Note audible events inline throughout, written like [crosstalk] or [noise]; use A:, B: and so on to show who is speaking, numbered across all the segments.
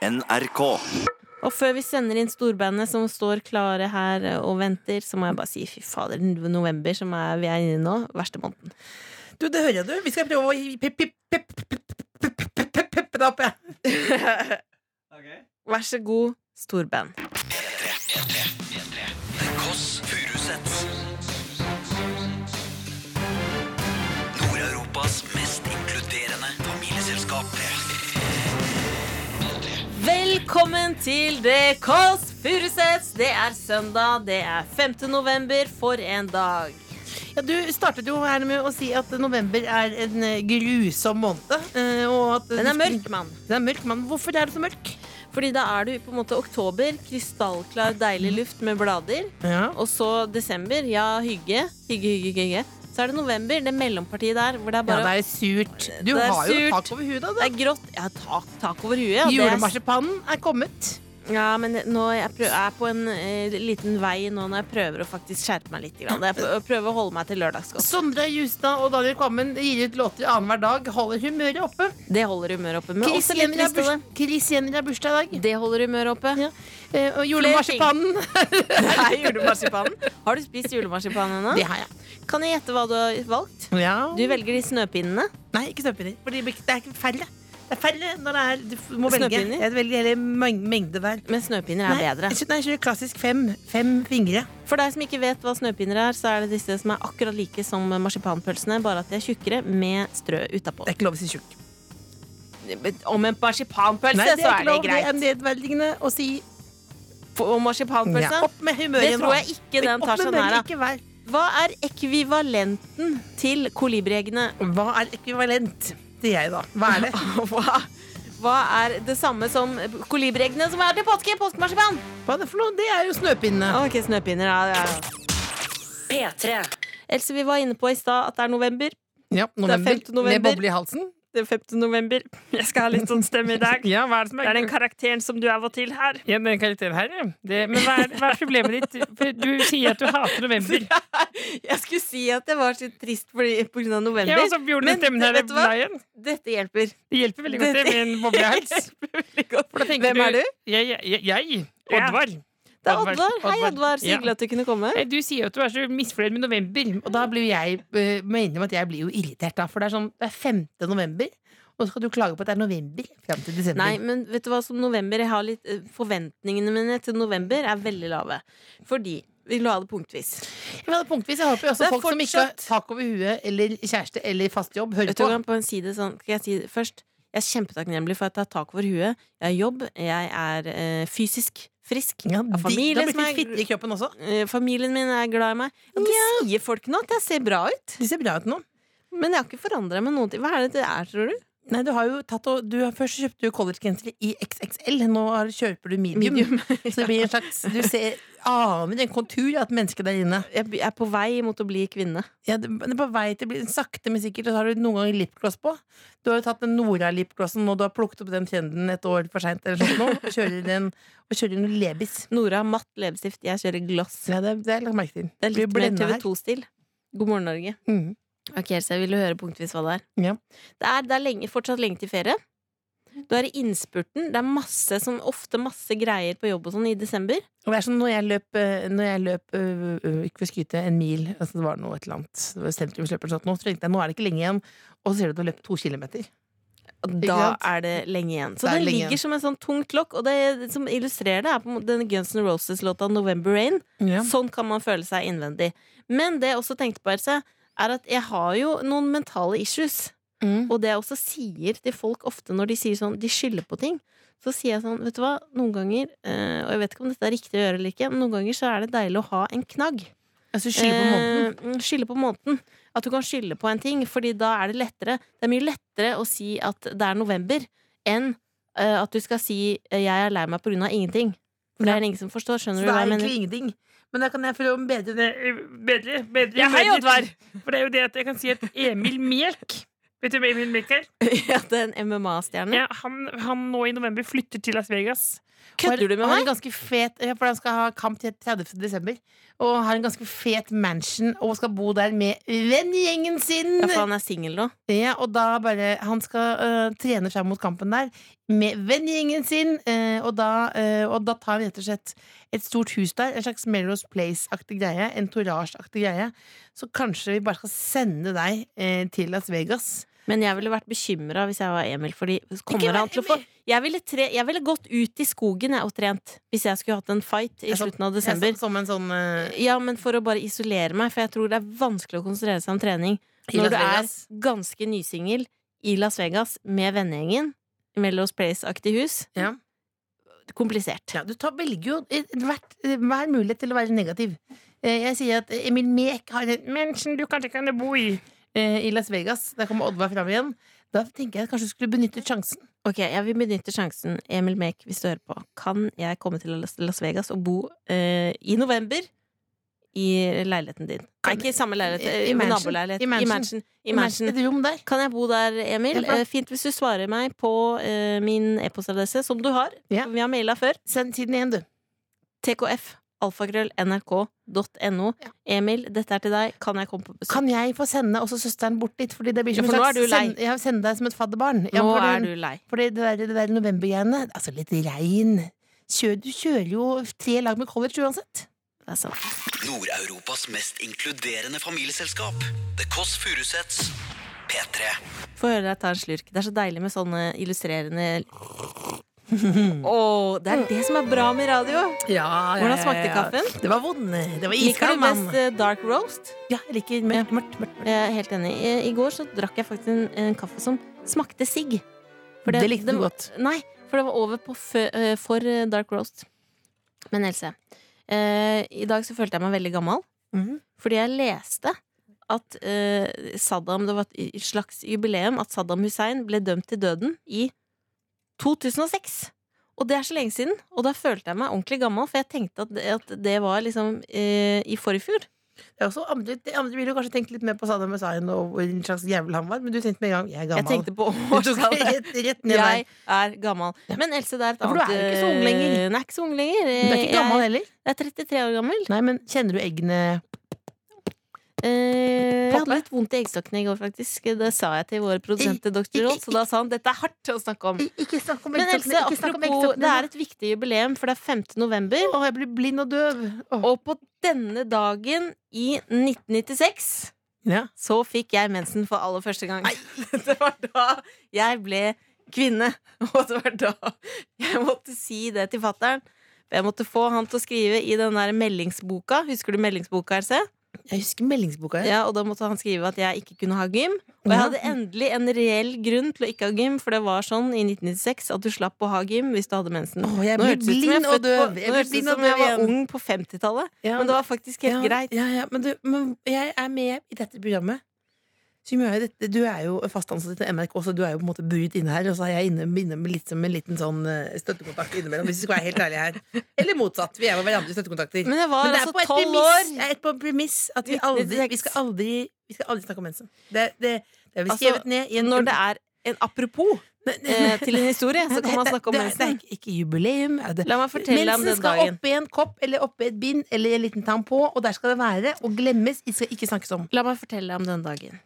A: NRK.
B: Og før vi sender inn storbandet som står klare her eh, og venter, så må jeg bare si fy fader, november som er, vi er inne i nå, verste måneden.
C: Du, det hører jeg, du. Vi skal prøve å gi- pep- pep- pep- pep- pep- pep- pep- pep- peppe det opp, jeg.
B: Vær så god, storband.
A: Kåss Furuseth. Nord-Europas mest inkluderende familieselskap.
B: Velkommen til The Kåss Furuseths! Det er søndag, det er 5. november, for en dag.
C: Ja, du startet jo her med å si at november er en eh, grusom måned. eh, Og at
B: Den er mørk, mann.
C: Den er mørk, men hvorfor er det så mørk?
B: Fordi da er du på en måte oktober, krystallklar, deilig luft med blader.
C: Ja.
B: Og så desember, ja, hygge. Hygge, hygge, hygge. Så er det november, det mellompartiet der, hvor det er
C: Ja,
B: bare
C: det er surt. Du
B: Det er
C: har jo
B: surt.
C: tak over huet, da.
B: Det
C: da.
B: er grått. Jeg har tak, tak over huet. og det er-
C: Julemarsipanen er kommet.
B: Ja, men det- nå jeg prøv, jeg er på en eh, liten vei nå når jeg prøver å faktisk skjerpe meg litt. Grann. Jeg prø- prøver å holde meg til lørdagsgodt.
C: Sondre Justad og Daniel Kvammen gir ut låter annenhver dag. Holder humøret oppe.
B: Det holder humøret oppe. Men
C: Chris
B: også litt
C: Jenner har
B: lyst til det.
C: burs- Chris Jenner har bursdag i dag.
B: Det holder humøret oppe.
C: Eh, Og julemarsipanen.
B: [laughs] Det er julemarsipanen. Har du spist julemarsipan ennå?
C: Det har jeg.
B: Kan jeg gjette hva du har valgt?
C: Ja.
B: Du velger de snøpinnene.
C: Nei, ikke snøpinner. For det blir ikke- det er ikke færre. Det er færre når det er Du f- må
B: Snøpinner?
C: velge. Jeg velger hele meng- mengde hver.
B: Men snøpinner er
C: Nei,
B: bedre.
C: jeg kjører- nei, jeg kjører klassisk fem. Fem fingre.
B: For deg som ikke vet hva snøpinner er, så er det disse som er akkurat like som marsipanpølsene, bare at de er tjukkere med strø utapå.
C: Det er ikke lov å si tjukk.
B: Om en marsipanpølse,
C: Nei, det
B: så
C: er ikke
B: er det
C: lov. Det
B: greit.
C: er nedverdigende å si
B: For- Og marsipanpølse?
C: ja. Opp med humøret
B: Det
C: igjen,
B: tror
C: da.
B: jeg ikke den tar sånn seg nær av.
C: Ikke vær.
B: Hva er ekvivalenten til kolibrieggene?
C: Hva er ekvivalent? Det er jeg, da. Hva er det?
B: [laughs] Hva, hva er det samme som kolibrieggene som er til påske? Påskemarsipan!
C: Hva er det for noe? Det er jo snøpinnene.
B: Ok, snøpinner. Ja, ja, ja.
D: P3.
B: Else, vi var inne på i stad at det er november.
C: Ja, november.
B: femte november.
C: Med boble i halsen.
B: Det er 5. november. [laughs] Jeg skal ha litt sånn stemme i dag.
C: Ja, hva er det som
B: Det er den karakteren som du av og til her.
C: Ja, den karakteren her, ja. Det, men hva er, hva er problemet ditt? For du sier at du hater
B: [laughs]
C: november.
B: Jeg skulle si at det var så trist fordi, på grunn av november.
C: Ja, og så gjorde
B: Men
C: den stemmen her
B: vet du hva?
C: blei igjen.
B: Dette hjelper.
C: Det hjelper veldig godt det med en
B: [laughs]
C: boblehals.
B: Hvem er du?
C: Jeg, jeg, jeg Oddvar.
B: Det er Oddvar. Hei, Oddvar. Så
C: Ja.
B: hyggelig at du kunne komme.
C: Eh, Du sier jo at du er så misfornøyd med november, og da blir jo jeg eh, må innrømme at jeg blir jo irritert, da. For det er sånn det er 5. november, og så skal du klage på at det er november fram til desember.
B: Nei, men vet du hva som november jeg har litt, eh, Forventningene mine til november er veldig lave. Fordi vi la det punktvis.
C: Men det er punktvis, jeg håper jo
B: Det
C: også
B: er
C: folk som ikke har
B: fortsatt-
C: tak over huet eller kjæreste eller fast jobb, hører
B: Vet du
C: på.
B: hva, på en side sånn, Skal jeg si det først? Jeg er kjempetakknemlig for at jeg har tak over huet. Jeg har jobb. Jeg er eh, fysisk frisk. Jeg
C: Ja,
B: har
C: de,
B: familie
C: da
B: som
C: blir
B: er
C: du fitte i kroppen også.
B: eh, Familien min er glad i meg. Ja, det sier folk nå, at jeg ser bra ut.
C: De ser bra ut nå.
B: Men jeg har ikke forandra meg noen ting. Hva er det det er, tror du?
C: Nei, du har jo tatt og, du, Først så kjøpte du collegegenser i XXL, nå har- kjøper du medium. [laughs] Så det blir en slags Du ser, aner en kontur av et menneske der inne.
B: [laughs] Jeg b- er på vei mot å bli kvinne.
C: Ja, det det er på vei til å bli sakte, men sikkert. Og så har du noen ganger lipgloss på. Du har jo tatt den Nora-lipglossen, og du har plukket opp den trenden et år for seint, eller sånt nå, og kjører den og kjører noe lebis.
B: Nora har matt leppestift, jeg kjører gloss.
C: Så ja, det, det har jeg lagt merke til.
B: Det er litt
C: Blir
B: mer
C: blenda her.
B: TV2-stil. God morgen, Norge.
C: Mhm.
B: Ok, så jeg ville høre punktvis hva det er.
C: Ja.
B: Det er, det er lenge, fortsatt lenge til ferie. Du er i innspurten. Det er masse, sånn, ofte masse greier på jobb og sånn i desember.
C: Og det er sånn når jeg løp, eh, når jeg løp øh, øh, ikke for å skryte, en mil altså Det var noe et eller annet det var sentrumsløp eller sånt. Nå, så tenkte jeg, nå er det ikke lenge igjen. Og så ser du at du har løpt to kilometer.
B: Og
C: Ikke
B: da
C: sant?
B: er det lenge igjen. Så
C: Det er
B: den
C: lenge
B: ligger
C: igjen.
B: som en sånn tungt lokk, og det som illustrerer det, er på en måte denne Guns N' Roses-låta 'November Rain'.
C: Ja.
B: Sånn kan man føle seg innvendig. Men det jeg også tenkte på, Else, er at jeg har jo noen mentale issues.
C: Mm.
B: Og det jeg også sier til folk ofte når de sier sånn De skylder på ting. Så sier jeg sånn, vet du hva, noen ganger eh, Og jeg vet ikke om dette er riktig å gjøre eller ikke, men noen ganger så er det deilig å ha en knagg.
C: Altså skylde på måneden.
B: Eh, mm, skylde på måneden. At du kan skylde på en ting, Fordi da er det lettere. Det er mye lettere å si at det er november, enn eh, at du skal si eh, 'jeg er lei meg på grunn av ingenting'. For det
C: Ja.
B: er det ingen som forstår.
C: Så
B: Skjønner
C: det
B: du hva
C: er
B: jeg
C: egentlig
B: mener?
C: ingenting. Men da kan jeg føle om øh, bedre, bedre, bedre
B: Ja, hei,
C: humøret.
B: Oddvar!
C: For det er jo det at jeg kan si at Emil Melk
E: Vet du hvem Emil Mikkel?
B: [laughs] Ja, det er en MMA-stjerne.
E: Ja, han, han nå i november flytter til Las Vegas.
B: Kødder du med
C: Han har
B: meg?
C: en ganske fet ja, For han skal ha kamp til 30. desember. Og har en ganske fet mansion og skal bo der med vennegjengen sin.
B: Ja,
C: Ja,
B: for han er singel nå.
C: og da bare Han skal øh, trene seg mot kampen der med vennegjengen sin. øh, og, da, øh, og da tar han rett og slett et stort hus der. En slags Melrose Place-aktig greie. En torage-aktig greie. Så kanskje vi bare skal sende deg øh, til Las Vegas.
B: Men jeg ville vært bekymra hvis jeg var Emil. Fordi
C: Ikke
B: kommer han
C: vær
B: til å få jeg ville, tre, jeg ville gått ut i skogen jeg, og trent hvis jeg skulle hatt en fight i
C: Jeg så-
B: slutten av
C: Jeg
B: desember.
C: så- Som en sånn øh,
B: Ja, men for å bare isolere meg, for jeg tror det er vanskelig å konsentrere seg om trening
C: I
B: når
C: Las
B: du er
C: Vegas.
B: ganske nysingel i Las Vegas med vennegjengen. i Melrose Place-aktig hus.
C: ja.
B: Komplisert.
C: Ja, du tar, velger jo et- hvert, hver mulighet til å være negativ. Eh, Jeg sier at Emil Mek har en mansion
E: Du kanskje kan bo i
C: eh, i Las Vegas. Der kommer Oddvar fram igjen. Da tenker jeg at kanskje du skulle benyttet sjansen.
B: Ok, Jeg vil benytte sjansen, Emil Mek, hvis du hører på. Kan jeg komme til Las- Las Vegas og bo eh, i november i leiligheten din? Nei, ikke i samme leilighet,
C: I-
B: eh,
C: i
B: i
C: mansion.
B: naboleilighet.
C: I
B: I
C: mansion.
B: mansion. I mansion.
C: Et rom der.
B: Kan jeg bo der, Emil?
C: Det er bra.
B: Eh, Fint hvis du svarer meg på eh, min e-postadresse, som du har.
C: Ja.
B: som Vi har maila før.
C: Send tiden igjen, du.
B: tkf alfakrøll nrk.no. Emil, dette er til deg. Kan jeg komme på besøk?
C: Kan jeg få sende også søsteren bort dit? Fordi det blir som
B: Ja, for
C: en
B: nå
C: slags
B: er du lei.
C: send- Ja, sende deg som et fadderbarn. Ja,
B: Nå
C: for
B: er
C: det-
B: du lei.
C: Fordi det der, det der novembergreiene Altså, litt regn Kjør, Du kjører jo tre lag med college uansett.
B: Det er sant.
A: Nord-Europas mest inkluderende familieselskap. The Kåss Furuseths. P3.
B: Få høre deg ta en slurk. Det er så deilig med sånne illustrerende [laughs] Å, det er det som er bra med radio!
C: Ja,
B: Hvordan smakte kaffen?
C: Det var vond. Det var
B: Liker
C: iskald,
B: du
C: mann.
B: best eh, dark roast?
C: Ja, jeg liker mørkt, mørkt, mørkt. mørkt.
B: Jeg er helt enig. I- I går så drakk jeg faktisk en, en kaffe som smakte sigg. For
C: Det likte du godt.
B: Nei, for det var over på fø, eh, for eh, dark roast. Men Else, eh, i dag så følte jeg meg veldig gammel.
C: Mhm.
B: Fordi jeg leste at eh, Saddam Det var et i- slags jubileum at Saddam Hussein ble dømt til døden i 2006. Og det er så lenge siden, og da følte jeg meg ordentlig gammel, for jeg tenkte at det, at det var liksom eh, i forfjor.
C: Det er også andre, de andre ville jo kanskje tenkt litt mer på Saddam Hussein og hvor en slags jævel han var, men du tenkte med en gang jeg er
B: Jeg
C: gammel.
B: tenkte på
C: [laughs] Du tok
B: årstallet.
C: [laughs] rett, rett ned
B: Jeg
C: der.
B: er gammel. Men Else, det er et
C: Ja, for du
B: annet
C: er jo ikke så ung lenger.
B: eh, Nei, ikke så ung lenger.
C: Du er ikke gammel
B: eh, jeg,
C: heller.
B: jeg er 33 år gammel.
C: Nei, men kjenner du eggene
B: Eh, jeg
C: Poppe?
B: hadde litt vondt i eggstokkene i går, faktisk. Det sa jeg til vår produsent dr. Rolf, så da sa han dette er hardt å snakke om.
C: Mm, Ikke snakk om
B: Men Else, apropos, det er et viktig jubileum, for det er 15. november.
C: Å, jeg blir blind og døv. Å.
B: Og på denne dagen i 1996
C: Ja.
B: så fikk jeg mensen for aller første gang. [laughs] Det var da jeg ble kvinne, [laughs] og det var da jeg måtte si det til fattern. Jeg måtte få han til å skrive i den der meldingsboka. Husker du meldingsboka, Else?
C: Jeg husker meldingsboka. jeg.
B: Ja, og da måtte han skrive at jeg ikke kunne ha gym. Og jeg
C: Ja.
B: hadde endelig en reell grunn til å ikke ha gym, for det var sånn i 1996 at du slapp å ha gym hvis du hadde mensen.
C: Å, jeg
B: Nå
C: blir
B: hørtes det ut som jeg
C: blind
B: født
C: og
B: på-
C: døv.
B: nå
C: Jeg blir
B: hørtes det ut
C: blind og
B: som jeg
C: døv
B: var
C: igjen.
B: ung på 50-tallet,
C: Ja,
B: men det var faktisk helt
C: ja,
B: greit.
C: Ja, ja, men, du, men jeg er med i dette programmet. Så gjør jeg dette, du er jo fast ansatt i NRK, så du er jo på en måte buret inne her. Og så er jeg inne, inne med litt som en liten sånn eh, støttekontakt innimellom, hvis vi skal være helt ærlige her. Eller motsatt. Vi er jo hverandres støttekontakter.
B: Men jeg var
C: det er på
B: altså
C: et
B: tolv
C: premiss-
B: år.
C: Det er et på premiss at vi aldri Vi skal aldri, vi skal aldri snakke om mensen. Det, det, det er vi
B: Altså,
C: skrevet ned i en
B: Når det er en apropos
C: Ne- ne-
B: eh, til en historie, så kan man
C: [laughs] Det-
B: snakke om
C: det- Det er
B: mensen.
C: ikke- ikke jubileum. Er det.
B: La meg fortelle om
C: mensen
B: den
C: skal
B: dagen.
C: opp i en kopp eller oppi et bind eller en liten tampå, og der skal det være og glemmes. Det skal ikke snakkes om.
B: La meg fortelle om den dagen.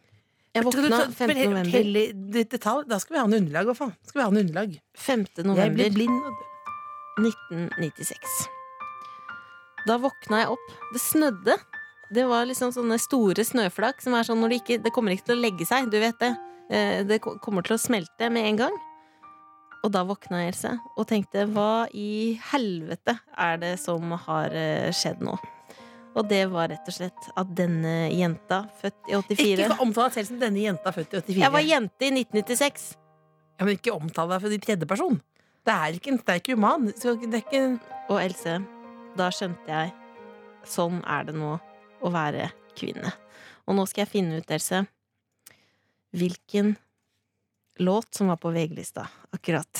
B: Jeg
C: Skal du
B: våkna
C: ta-
B: 15.
C: fortelle-
B: november.
C: fortelle i detalj? Da skal vi ha noe underlag, hva faen? Skal vi ha noe underlag?
B: 5.
C: Jeg blir
B: november
C: blind. og-
B: 1996. Da våkna jeg opp. Det snødde. Det var liksom sånne store snøflak som er sånn når det ikke Det kommer ikke til å legge seg, du vet det. Eh, Det ko- kommer til å smelte med en gang. Og da våkna jeg, Else, og tenkte hva i helvete er det som har eh, skjedd nå? Og det var rett og slett at denne jenta, født i 84
C: Ikke omtale deg selv som denne jenta født i 84.
B: Jeg var jente i 1996.
C: ja, men ikke omtale deg for de tredjeperson. Det er ikke en sterk roman. Så det er ikke en
B: Og Else, da skjønte jeg Sånn er det nå å være kvinne. Og nå skal jeg finne ut, Else, hvilken låt som var på VG-lista akkurat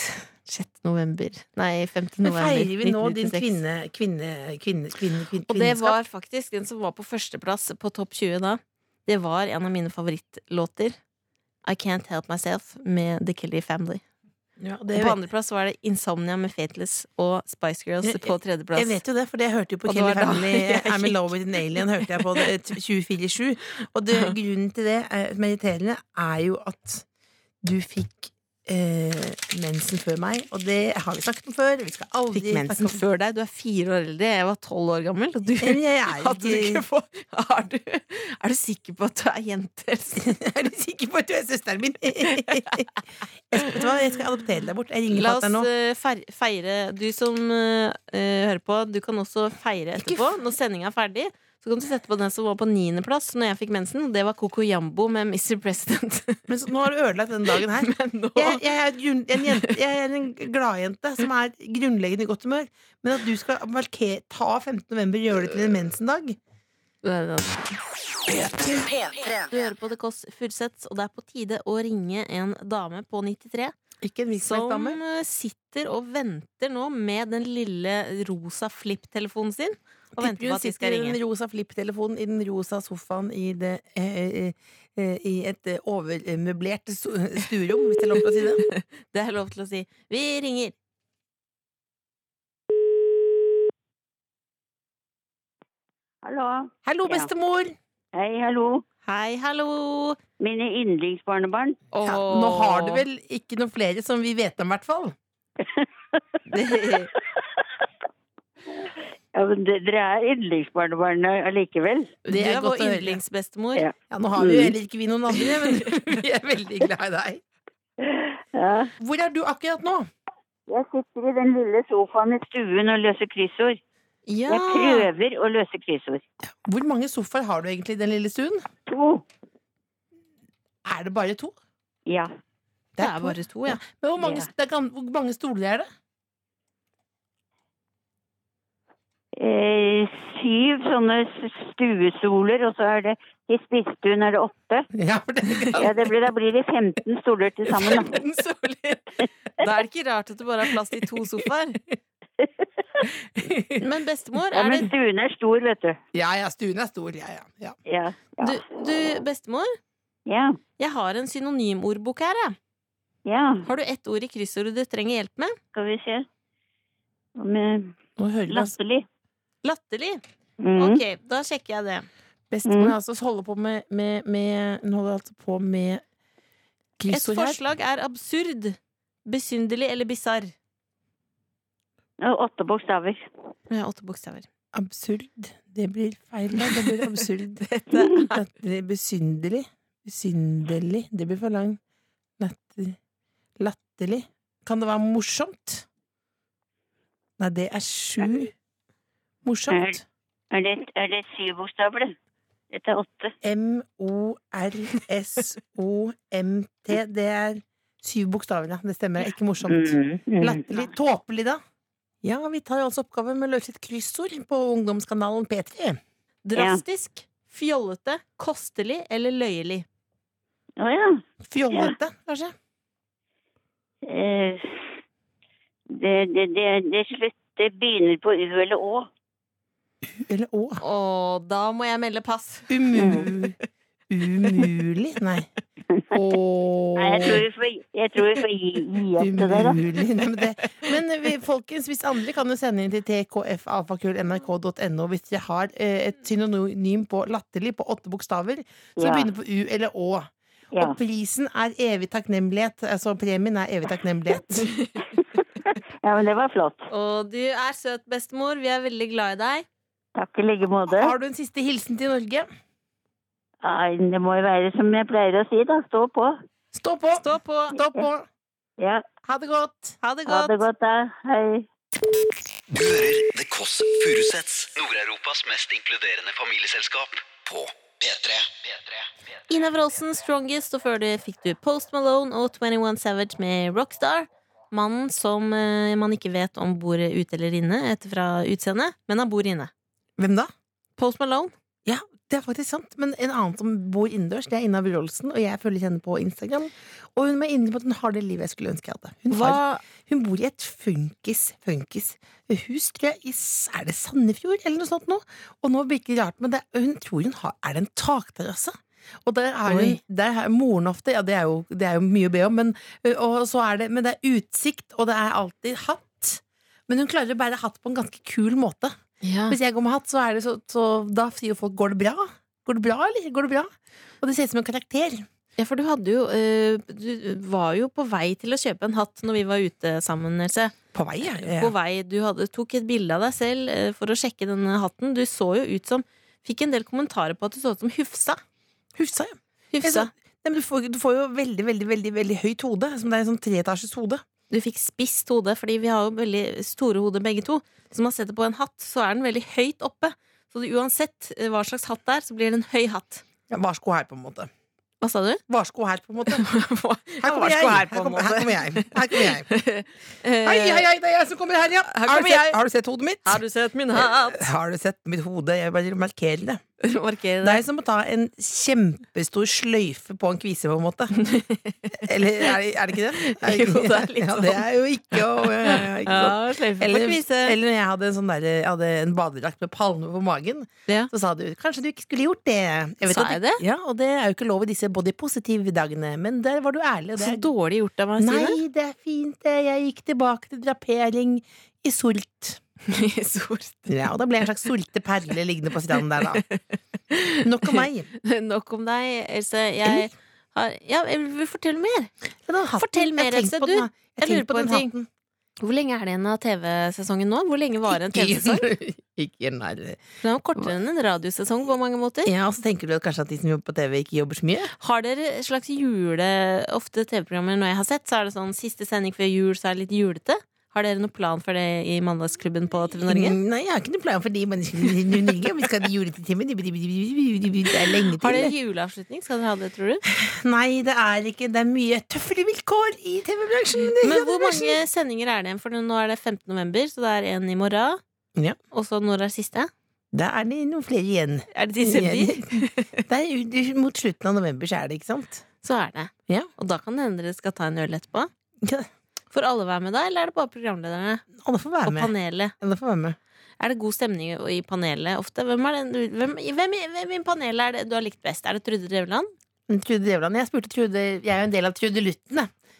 B: 6. november Nei, 5.
C: Men
B: november
C: feirer vi nå din
B: 1996.
C: kvinne, kvinne, kvinne, kvinne, kvinne
B: Og det
C: kvinneskap?
B: var faktisk den som var på førsteplass på topp 20 da. Det var en av mine favorittlåter. I Can't Help Myself med The Kelly Family.
C: det
B: På andreplass var det Insomnia med Fateless og Spice Girls
C: Jeg-
B: på tredjeplass.
C: Jeg vet jo det, for det hørte jo på
B: Og det
C: Kelly
B: var da [laughs]
C: Family
B: jeg
C: I'm in
B: gikk.
C: love with an alien hørte jeg på det eh, t- 24-7. Og det, grunnen til det, eh, som er irriterende, er jo at du fikk eh, mensen før meg. Og det har vi snakket om før. Vi skal aldri
B: Fikk mensen
C: snakke om
B: før deg. Du er fire år eldre. Jeg var tolv år gammel. Og du,
C: Men [laughs] jeg
B: [laughs]
C: er
B: hadde du
C: ikke-
B: ikke få, er, du, er du sikker på at du er jente? Else?
C: [laughs] [laughs] Er du sikker på at du er søsteren min? [laughs] jeg, vet du hva, jeg skal adoptere deg bort. Jeg ringer
B: La oss
C: fatter'n nå.
B: eh, fer- feire Du som eh, eh, hører på, du kan også feire
C: Ikke
B: etterpå. Når sendinga er ferdig, så kan du sette på den som var på niendeplass når jeg fikk mensen. og Det var Coco Jambo med Mr. President. [laughs]
C: Men så, nå har du ødelagt denne dagen her.
B: Men nå
C: Jeg, jeg, er grunn, en jente, jeg er en gladjente som er grunnleggende i godt humør. Men at du skal markere, ta 15. november og gjøre det til en mensendag
B: Du
D: P3.
B: hører på The Kåss Furuseths, og det er på tide å ringe en dame på 93
C: Ikke en
B: som
C: virksomhetsdame.
B: eh, sitter og venter nå med den lille rosa flipp-telefonen sin
C: Sånn
B: og venter på at vi skal
C: i
B: ringe.
C: den rosa flipptelefonen i den rosa sofaen i, det, eh, eh, eh, i et eh, overmøblert so- stuerom, hvis det er lov til å si det.
B: Det er lov til å si. Vi ringer.
F: Hallo.
C: Hallo,
F: Ja.
C: bestemor!
F: Hei, hallo.
B: Hei, hallo!
F: Mine yndlingsbarnebarn.
C: Ja,
B: Åh.
C: nå har du vel ikke noen flere som vi vet om, i hvert fall.
B: [laughs] Det-
F: Ja, men de- dere er yndlingsbarnebarn eh, allikevel.
B: Du
C: er
B: er vår
C: godt å høre.
B: yndlingsbestemor.
F: Ja.
C: Ja, nå har vi jo
F: Mm.
C: heller ikke vi noen andre, men [laughs] vi er veldig glad i deg.
F: Ja.
C: Hvor er du akkurat nå?
F: Jeg sitter i den lille sofaen i stuen og løser kryssord. Jeg
B: Ja.
F: prøver å løse kryssord.
C: Hvor mange sofaer har du egentlig i den lille stuen?
F: To.
C: Er det bare to?
F: Ja.
B: Det er bare to, ja.
C: Men hvor mange,
F: Ja.
C: det er, gam- hvor mange stoler er det?
F: Eh, syv sånne s- stuesoler, og så er det i spisstuen er det åtte.
C: [laughs] Ja, for det er
F: Ja, det blir, da blir det 15 stoler til sammen. Da.
B: Femten soler. Da er det ikke rart at det bare er plass til
F: [laughs]
B: to sofaer. Men bestemor,
F: Ja,
B: er
F: men
B: det
F: stuen [laughs] er stor, vet du.
C: [laughs] Ja, ja, stuen er stor, ja, ja. ja.
F: Ja. Ja.
B: du, du, bestemor,
F: Ja.
B: jeg har en synonymordbok her, jeg.
F: ja.
B: Har du ett ord i kryssordet du trenger hjelp med?
F: Skal vi se. Hva med
C: Nå hører vi altså
F: latterlig?
B: Latterlig.
F: Mm.
B: Ok, da sjekker jeg det.
C: bestemor
F: Mm.
C: altså holder på med, med, med Hun holder altså på med
B: Et
C: kryssord her.
B: forslag er absurd, besynderlig eller bisarr.
F: Og Åtte bokstaver.
B: Jeg har åtte bokstaver.
C: Absurd. Det blir feil, da. Det blir absurd. [laughs]
B: Dette
C: Latterlig. Besynderlig. Besynderlig. Det blir for lang Latter. Latterlig. Kan det være morsomt? Nei, det er sju. Morsomt.
F: Er det, er det syv bokstaver, det? Dette er åtte.
C: M-O-R-S-O-M-T. Det er syv bokstaver, ja. Det stemmer. Ikke morsomt.
F: Mm, mm.
C: Latterlig. Tåpelig, da. Ja, vi tar altså oppgaven med å løse et kryssord på ungdomskanalen P3.
B: Drastisk, fjollete, kostelig eller løyelig.
F: Å ja.
C: Fjollete, kanskje?
F: Eh, det, det, det, det, slutt, det begynner på U eller Å.
C: Eller Å.
B: Og da må jeg melde pass.
C: Umu... Umulig?
F: [laughs]
C: Nei. Ååå.
F: Nei, jeg tror vi får, jeg tror vi får gi, gi opp det der, da.
C: Umulig. Nei, men det. Men vi, folkens, hvis andre kan jo sende inn til tkfalfakull.nrk.no hvis dere har eh, et synonym på latterlig på åtte bokstaver, som
F: Ja.
C: begynner på U eller Å.
F: Ja.
C: Og prisen er evig takknemlighet. Altså premien er evig takknemlighet.
F: ja, men det var flott.
B: Og du er søt, bestemor. Vi er veldig glad i deg.
F: Takk i like måte.
C: Har du en siste hilsen til Norge?
F: Nei, det må jo være som jeg pleier å si, da. Stå på.
C: Stå på!
B: Stå på.
C: Stå på!
F: Ja,
C: Ha det godt!
B: Ha det
F: ha
B: godt.
F: det godt, da. Hei.
A: Du hører The Kåss Furuseths, Nord-Europas mest inkluderende familieselskap, på P3.
B: Ina Wroldsen, Strongest, og før det fikk du Post Malone og 21 Savage med Rockstar. Mannen som eh, man ikke vet om bor ute eller inne etter fra utseendet, men han bor inne.
C: Hvem da?
B: Post Malone.
C: Det er faktisk sant, men en annen som bor innendørs, det er Ina Wroldsen, og jeg følger henne på Instagram. Og hun er inne på at hun har det livet jeg skulle ønske jeg hadde. Hun,
B: Hva,
C: har, hun bor i et funkis-funkis-hus, tror jeg, i S- er det Sandefjord eller noe sånt nå? Og nå virker det rart, men det, hun tror hun har Er det en takterrasse? Og der har hun,
B: Oi.
C: der har moren ofte Ja, det er jo, det er jo mye å be om, men, ø, og så er det, men det er utsikt, og det er alltid hatt. Men hun klarer å bære hatt på en ganske kul måte.
B: Ja.
C: Hvis jeg går med hatt, så, er det så, så da sier jo folk 'går det bra'? Går det bra, eller? Går det bra? Og det ser ut som en karakter.
B: ja, for du hadde jo eh, Du var jo på vei til å kjøpe en hatt når vi var ute sammen, Else.
C: På vei, ja.
B: På vei, du hadde, tok et bilde av deg selv eh, for å sjekke denne hatten. Du så jo ut som Fikk en del kommentarer på at du så ut som Hufsa.
C: Hufsa, ja.
B: Hufsa.
C: sånn, Nei, men du, får, du får jo veldig, veldig veldig, veldig høyt hode. Som det er en sånn treetasjes hode.
B: Du fikk spisst hode, fordi vi har jo veldig store hoder begge to. Så man setter på en hatt, så er den veldig høyt oppe. Så det, uansett eh, hva slags hatt det er, så blir det en høy hatt.
C: Ja, varsko her, på en måte.
B: Hva sa du? [laughs]
C: Varsko her, på en måte. Her
B: Her
C: kommer jeg! Her kommer, her kommer jeg. Her kommer jeg.
B: [laughs] Eh,
C: Hei, hei, hei, det er jeg som kommer her, ja!
B: Her
C: har,
B: kommer
C: du sett,
B: jeg.
C: har du sett hodet mitt?
B: Har du sett min [laughs] hatt?
C: Har du sett mitt hode? Jeg bare markerer det.
B: Markerer
C: Det
B: det.
C: er som å ta en kjempestor sløyfe på en kvise, på en
B: [laughs]
C: måte. Eller er det, er det ikke det? Er
B: Jo, det er
C: ikke-
B: litt
C: ja, det er jo ikke, å- ja, ja, ja, ikke sant?
B: Ja, sløyfe på
C: Eller,
B: kvise.
C: eller når jeg hadde en, sånn der, jeg hadde en badedrakt med palme på magen,
B: Ja.
C: så sa du 'kanskje du ikke skulle gjort det'.
B: Sa
C: at
B: jeg
C: Ja, Og det er jo ikke lov i disse body positive-dagene, men der var du ærlig. Og det
B: Så
C: er,
B: dårlig gjort av meg å si det.
C: Nei, det er fint, det. Jeg gikk tilbake til drapering i sult.
B: [laughs] Sort.
C: Ja, Og da ble jeg en slags solte perle liggende på stranden der, da. Nok om meg.
B: Nok om deg, Else. Jeg har Ja, jeg vil fortelle mer.
C: Men den hatten,
B: Fortell mer,
C: jeg har tenkt
B: Else,
C: på den,
B: du.
C: da.
B: Jeg lurer
C: tenkte
B: på en
C: den
B: ting. Hvor lenge er det igjen av TV-sesongen nå? Hvor lenge varer en TV-sesong?
C: hatten. Ikke nærmere.
B: Den er jo kortere enn en radiosesong på mange måter.
C: Ja, og så tenker du at kanskje at de som jobber på TV, ikke jobber så mye?
B: Har dere et slags jule... Ofte TV-programmer når jeg har sett, så er det sånn siste sending før jul, så er det litt julete. Har dere noen plan for det i Mandagsklubben på TV Norge?
C: Mm, Nei, jeg har ikke noen plan for de menneskene i Norge. Vi skal til juletimen. Det er lenge
B: Har
C: til.
B: dere juleavslutning? Skal dere ha det, tror
C: [laughs]
B: du?
C: Nei, det er ikke Det er mye tøffere vilkår i TV-bransjen.
B: Men hvor mange sendinger er det igjen? For nå er det 15. november, så det er en i morgen.
C: Ja.
B: Og så når er siste?
C: Da er det noen flere igjen.
B: Er det desember?
C: Det er, jo- mot slutten av november så er det, ikke sant?
B: Så er det.
C: Ja.
B: Og da kan det hende dere skal ta en øl etterpå.
C: Ja.
B: Får alle være med da, eller er det bare programlederne
C: Alle får være
B: og
C: med.
B: panelet?
C: Alle får være med.
B: Er det god stemning i panelet ofte? Hvem, er det, hvem, hvem, i- hvem i panelet er det du har likt best? Er det Trude
C: [laughs]
B: Drevland?
C: Men Trude Drevland, jeg spurte Trude Jeg er jo en del av Trude Lutten, jeg.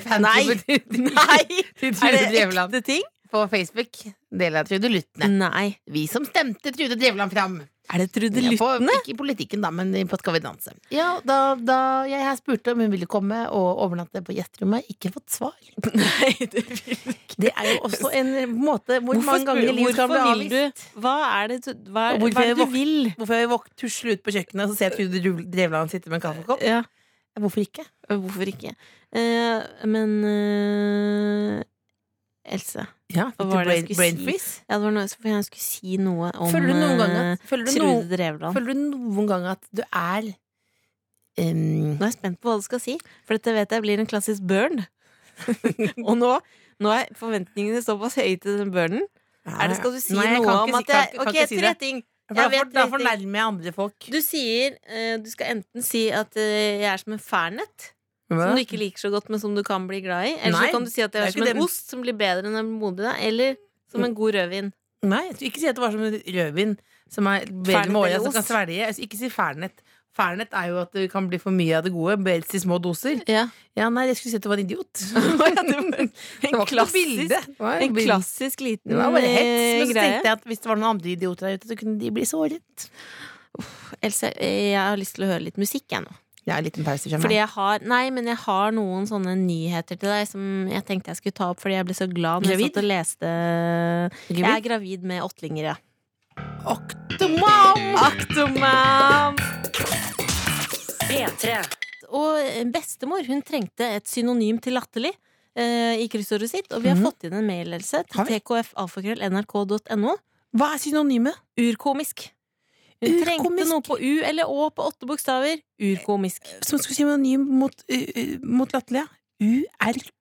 B: Nei.
C: [laughs] fanklubben Trude-
B: Nei!
C: Trude
B: Er det
C: Drevland
B: ekte ting?
C: på Facebook. Del av Trude Lutten.
B: Nei.
C: Vi som stemte Trude Drevland fram.
B: Er det Trude
C: Ja, på,
B: Lyttene?
C: ikke i politikken, da, men på Skal vi danse. Ja, da, da jeg her spurte om hun ville komme og overnatte på gjesterommet, ikke fått svar.
B: [laughs] Nei, det vil du ikke.
C: Det er jo også en måte hvor
B: Hvorfor,
C: mange ganger
B: spør-
C: livet kan
B: hvorfor
C: bli
B: vil
C: avvist.
B: du Hva er det, du- hva, er-
C: Og hvorfor
B: hva er det du
C: våk-
B: vil?
C: Hvorfor jeg våk- tusler ut på kjøkkenet og så ser jeg Trude Dru- Drevland sitte med en kaffekopp?
B: Ja,
C: Hvorfor ikke?
B: Eh, hvorfor ikke? Eh, men eh, Else,
C: Ja,
B: Hva
C: fikk du
B: var det jeg
C: brain,
B: skulle
C: brain
B: si?
C: freeze?
B: ja, det var noe, for jeg skulle si noe om
C: Føler du noen gang
B: eh,
C: at, føler du
B: Trude
C: noen,
B: Drevland.
C: føler du noen gang at du er em,
B: Nå er jeg spent på hva du skal si, for dette vet jeg blir en klassisk burn. [laughs] og nå, nå er forventningene såpass høye til den burnen. Er det, skal du si
C: Nei, jeg
B: noe
C: kan
B: om
C: ikke
B: at
C: si-
B: jeg
C: kan- kan
B: Ok,
C: ikke si
B: tre
C: det.
B: ting.
C: For
B: Jeg
C: Da
B: vet
C: for- da
B: tre ting.
C: fornærmer jeg andre folk.
B: Du sier eh, Du skal enten si at eh, jeg er som en fernet, som du ikke liker så godt, men som du kan bli glad i. Eller
C: Nei,
B: så kan du si at jeg
C: det er
B: er som
C: ikke
B: en
C: det.
B: ost, som blir bedre enn en modig deg. Eller som en god rødvin.
C: Nei, jeg skulle ikke si at det var som en rødvin som er bedre
B: Fernet
C: med året,
B: eller
C: som kan
B: ost?
C: svelge. Jeg skulle Ikke si fernet. Fernet er jo at det kan bli for mye av det gode, helst i små doser.
B: Ja.
C: Ja, nei, jeg skulle si at du var en [laughs] idiot.
B: Det var en,
C: Det var ikke noe
B: klassisk,
C: bilde. Det var
B: en
C: bilde.
B: klassisk liten
C: Det var bare hets.
B: eh,
C: Men så
B: greie.
C: tenkte jeg at hvis det var noen andre idioter der ute, så kunne de bli såret.
B: Else, eh, jeg har lyst til å høre litt musikk, jeg nå.
C: Jeg har en liten pause fra
B: Fordi jeg har, nei, men jeg har noen sånne nyheter til deg som jeg tenkte jeg skulle ta opp fordi jeg ble så glad når jeg
C: Gravid?
B: satt og leste Jeg er
C: Jeg
B: gravid med åttlinger, ja.
C: Oktomam!
B: Aktomam!
D: P3.
B: Og eh, bestemor hun trengte et synonym til latterlig eh, i kryssordet sitt, og vi har
C: Mhm.
B: fått inn en mailelse til
C: Har vi?
B: tkfalfakrøll.nrk.no.
C: Hva er synonymet?
B: Urkomisk. Hun trengte
C: Urkomisk.
B: noe på U eller Å på åtte bokstaver.
C: Eh.
B: Urkomisk.
C: Som skulle synonym mot, uh, uh, mot latterlig, ja.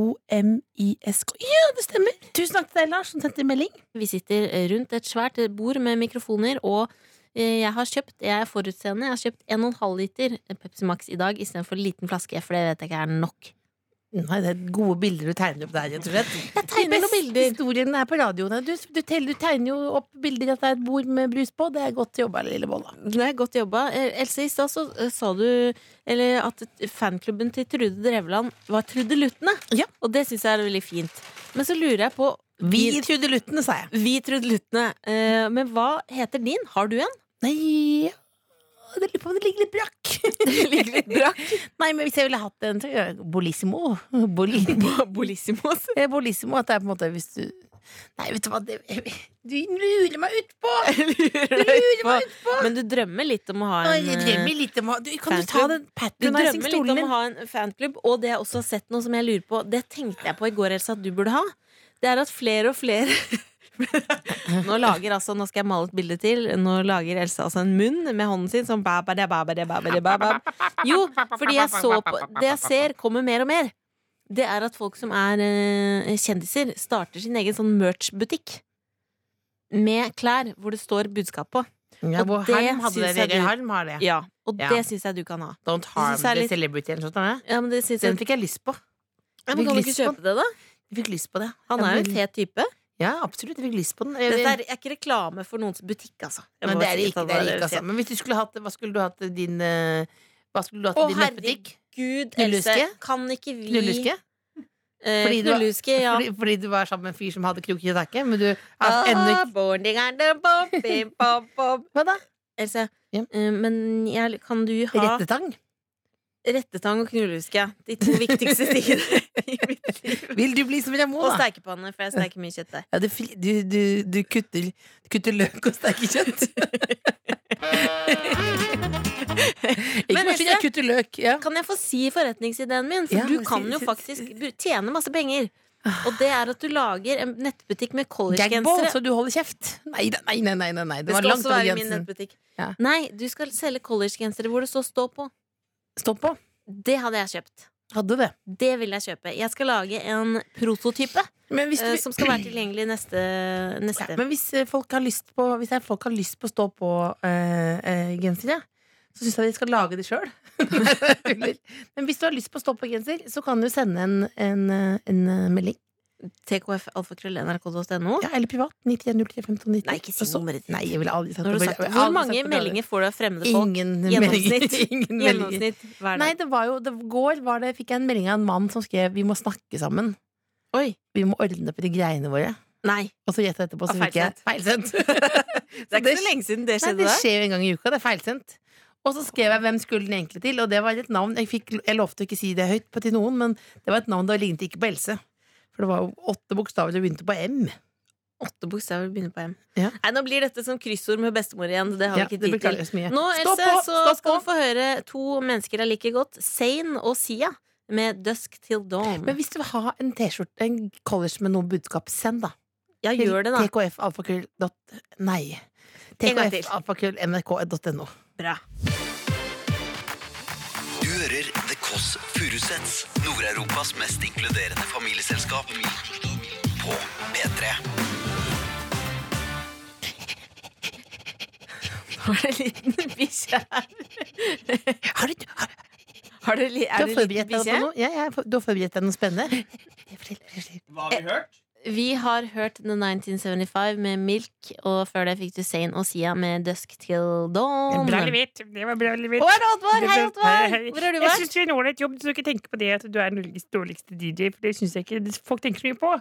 C: U-R-K-O-M-I-S-K. Ja, det stemmer! Tusen takk til deg, Lars, som sendte melding.
B: Vi sitter eh, rundt et svært bord med mikrofoner, og eh, jeg har kjøpt, jeg er eh, forutseende, jeg har kjøpt 1,5 liter Pepsi Max i dag istedenfor liten flaske, for det vet jeg ikke er nok.
C: Nei, det er gode bilder du tegner opp der, rett og slett. Jeg
B: tegner noen bilder.
C: Historien er på radioene. Du, du, teller, du tegner jo opp bilder at det er et bord med brus på. Det er godt jobba, lille bolla.
B: Det er godt jobba. Eh, Else, i stad så eh, sa du eller, at fanklubben til Trude Drevland var trudeluttene.
C: Ja.
B: Og det syns jeg er veldig fint. Men så lurer jeg på
C: Vi i trudeluttene, sa jeg.
B: Vi trudeluttene. Eh, men hva heter din? Har du en?
C: Nei, ja. det lurer på om det ligger [laughs] litt brakk.
B: Ligger litt [laughs] brakk.
C: Nei, men hvis jeg ville hatt en, så gjør jeg Bolissimo. Boli, [laughs]
B: Bolissimos.
C: eh, Bolissimo, at det er på en måte hvis du Nei, vet du hva, det, du lurer meg [laughs] utpå! Du lurer meg utpå!
B: Men du drømmer litt om å ha
C: Oi,
B: en
C: Jeg
B: eh,
C: drømmer litt om å du, Kan du ta
B: fanklubb. du
C: den
B: drømmer litt
C: patronizing-stolen
B: om å
C: min?
B: ha en fanklubb, og det jeg også har sett noe som jeg lurer på Det tenkte jeg på i går, Elsa, at du burde ha. Det er at flere og flere [laughs] Nå lager altså, nå skal jeg male et bilde til. Nå lager Elsa altså en munn med hånden sin sånn ba, ba, da, ba, ba, da, ba, ba, da, ba, ba. Jo, fordi jeg så på Det jeg ser kommer mer og mer. Det er at folk som er eh, kjendiser, starter sin egen sånn merch-butikk. Med klær hvor det står budskap på.
C: Ja,
B: og
C: hvor
B: det
C: Harm hadde
B: synes
C: det.
B: jeg du-
C: Vegard Harm har det.
B: Ja, Og
C: Ja.
B: det syns jeg du kan ha.
C: Don't
B: harm
C: harm the
B: the
C: celebrity eller noe sånt.
B: Ja, men det synes
C: Den
B: jeg
C: fikk jeg lyst på.
B: ja, men Kan
C: fikk
B: du ikke
C: lyst på
B: kjøpe det, da?
C: Jeg fikk lyst på det.
B: Han
C: Jeg
B: er jo en
C: vil-
B: fet type.
C: Ja, absolutt. Jeg fikk lyst på den. Jeg vil-
B: Dette er, er ikke reklame for noens butikk, altså. Jeg
C: Nei,
B: må
C: det er
B: si
C: det
B: at
C: ikke.
B: han
C: Det er det
B: var
C: ikke altså.
B: fet.
C: Men hvis du skulle hatt Hva skulle du hatt til din eh, Hva skulle du hatt
B: Å,
C: til din nettbutikk?
B: herregud, Else.
C: Knulluske?
B: Kan ikke vi
C: Knulluske?
B: Eh,
C: Fordi du-
B: knulluske, ja.
C: Fordi, fordi du var sammen med en fyr som hadde krok i taket? Men du har
B: Ah,
C: ennå ikke
B: born the garden, bop, bim, bop, bop.
C: Hva da?
B: Else,
C: Ja.
B: eh, men jeg, kan du ha
C: Rettetang?
B: rettetang og knulluske? De to viktigste
C: [laughs]
B: tingene i mitt liv.
C: Vil du bli som Ramón,
B: Og
C: da?
B: stekepanne, for jeg steker mye kjøtt der.
C: Ja, du, fil- du, du, du kutter, du kutter løk og steker
B: [laughs]
C: kjøtt. Ikke
B: Men
C: bare skyld, jeg
B: Else-
C: kutter løk. Ja.
B: Kan jeg få si forretningsideen min? For
C: Ja,
B: du
C: si-
B: kan jo
C: si-
B: faktisk bu- tjene masse penger. Og det er at du lager en nettbutikk med
C: Gagball,
B: collegegensere.
C: så du holder kjeft. Nei, da- nei, nei. nei, nei, nei. Det,
B: Det
C: var
B: skal
C: langt
B: også
C: over
B: være min
C: grensen.
B: nettbutikk.
C: Ja.
B: Nei, du skal selge collegegensere hvor det så 'stå på'.
C: Stopp på.
B: Det hadde jeg kjøpt.
C: Hadde det.
B: Det vil jeg kjøpe. Jeg skal lage en prototype
C: Men hvis,
B: eh,
C: du,
B: som skal være tilgjengelig neste, neste.
C: ja, men hvis eh, folk har lyst på Hvis jeg, folk har lyst på stå på eh, eh, gensere, så syns jeg de skal lage [laughs] det sjøl. men hvis du har lyst på stå på genser, så kan du sende en, en, eh, en eh, melding.
B: tkfalfakrøll.nrk.no.
C: Ja, eller privat. 91031590.
B: Nei, ikke si nummeret ditt.
C: Nei, jeg ville aldri sagt
B: Nå har du
C: det.
B: sagt det.
C: Jeg ville
B: Hvor
C: aldri
B: mange
C: sagt det.
B: meldinger får du av fremmede folk?
C: Ingen
B: Gjennomsnitt.
C: meldinger. [laughs] Ingen meldinger.
B: Gjennomsnitt hver
C: Nei,
B: dag.
C: det var jo det, går var det, fikk jeg en melding av en mann som skrev 'Vi må snakke sammen'.
B: Oi.
C: Vi må ordne opp i de greiene våre.
B: Nei.
C: Og så gjett etterpå, så
B: Ah,
C: fikk jeg
B: [laughs]
C: feilsendt.
B: Det er ikke så lenge siden det
C: Nei,
B: skjedde
C: det
B: der.
C: skjer jo en gang i uka. Det er feilsendt. Og så skrev jeg hvem skulle den egentlig til, og det var et navn Jeg, fikk, jeg lovte å ikke si det høyt på til noen, men det var et navn det lignet ikke på Else. For det var jo åtte bokstaver og begynte på M.
B: Åtte bokstaver begynner på M.
C: Ja.
B: Nei, nå blir dette som kryssord med bestemor igjen. Det har
C: Ja,
B: vi
C: det
B: ikke tid til.
C: beklager jeg så mye.
B: Nå
C: Stå
B: Else,
C: på,
B: så
C: stå
B: skal
C: på.
B: du få høre to mennesker jeg liker godt. Zain og Sia med Dusk Till Dawn.
C: Men hvis du vil ha en T-skjorte, en college med noe budskap, send, da.
B: Ja, gjør det, da.
C: tkfalfakrøll dot- Nei.
B: En gang til.
C: tkfalfakrøll.nrk.no.
B: Bra.
A: Du hører The Kåss Furuseths, Nord-Europas mest inkluderende familieselskap. På P3.
B: [laughs] Har du en [laughs] liten bikkje her?
C: Har du, har,
B: Har du, li-
C: du
B: er
C: har
B: du en liten
C: forberedt deg på
B: bikkje?
C: noe? Ja, jeg, har- du har forberedt deg noe
B: [laughs]
C: spennende? Fortell, fortell.
B: Vi har hørt The 1975 med Milk, og før det fikk du Zain og Sia med Dusk Till Dawn.
E: Bra levert. Det var bra levert.
B: Å, er det Oddvar? Hei, Oddvar!
E: Hei.
B: Hvor har du
E: Jeg
B: vært?
E: syns du gjør en ålreit jobb, så du ikke tenker på det at du er Norges dårligste DJ. For det synes jeg ikke det- folk tenker så mye på.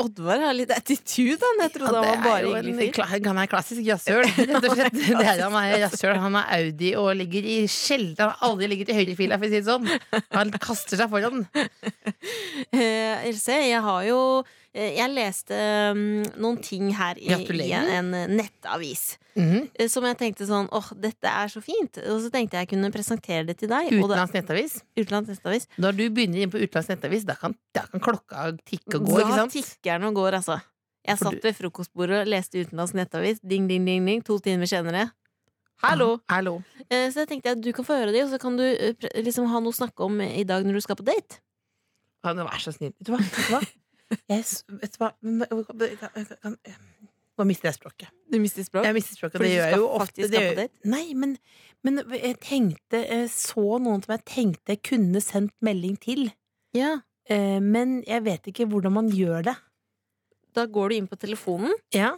B: Oddvar har litt attitude, han. Jeg
C: Ja, det er jo en kla- Han er klassisk jazzøl. rett og [laughs] slett. Det er Han er jazzøl. Han er Audi og ligger i sjelden Han aldri ligger i høyrefila, for å si det sånn. Han kaster seg foran.
B: [laughs] Eh, Else, jeg har jo eh, Jeg leste mm, noen ting her i, i
C: Gratulerer.
B: en eh, nettavis.
C: Mhm.
B: eh, Som jeg tenkte sånn åh, dette er så fint. Og så tenkte jeg jeg kunne presentere det til deg. og det-
C: Utenlands nettavis.
B: Utenlands nettavis.
C: Når du begynner inn på utenlands nettavis, da kan, da kan klokka tikke og gå. ikke
B: Da
C: sant?
B: tikker den og går, altså. Jeg
C: For
B: satt ved frokostbordet og leste Utenlands nettavis. Ding, ding, ding, ding. To timer senere. Hallo!
C: Hallo.
B: Eh, Så jeg tenkte at du kan få høre de, og så kan du eh, pre- liksom ha noe å snakke om i dag når du skal på date.
C: Ja, nå vær så snill. Vet du hva? Vet du hva? Jeg, s- vet du hva? Men- kan- kan- Nå mister jeg språket.
B: Du mister språk.
C: Jeg mister språket,
B: Fordi
C: det
B: du
C: gjør jeg
B: skal
C: jo ofte.
B: faktisk
C: Det
B: ha på
C: gjør... Nei, men, eh, men jeg tenkte jeg så noen som jeg tenkte jeg kunne sendt melding til.
B: Ja.
C: Eh, men jeg vet ikke hvordan man gjør det.
B: Da går du inn på telefonen.
C: Ja.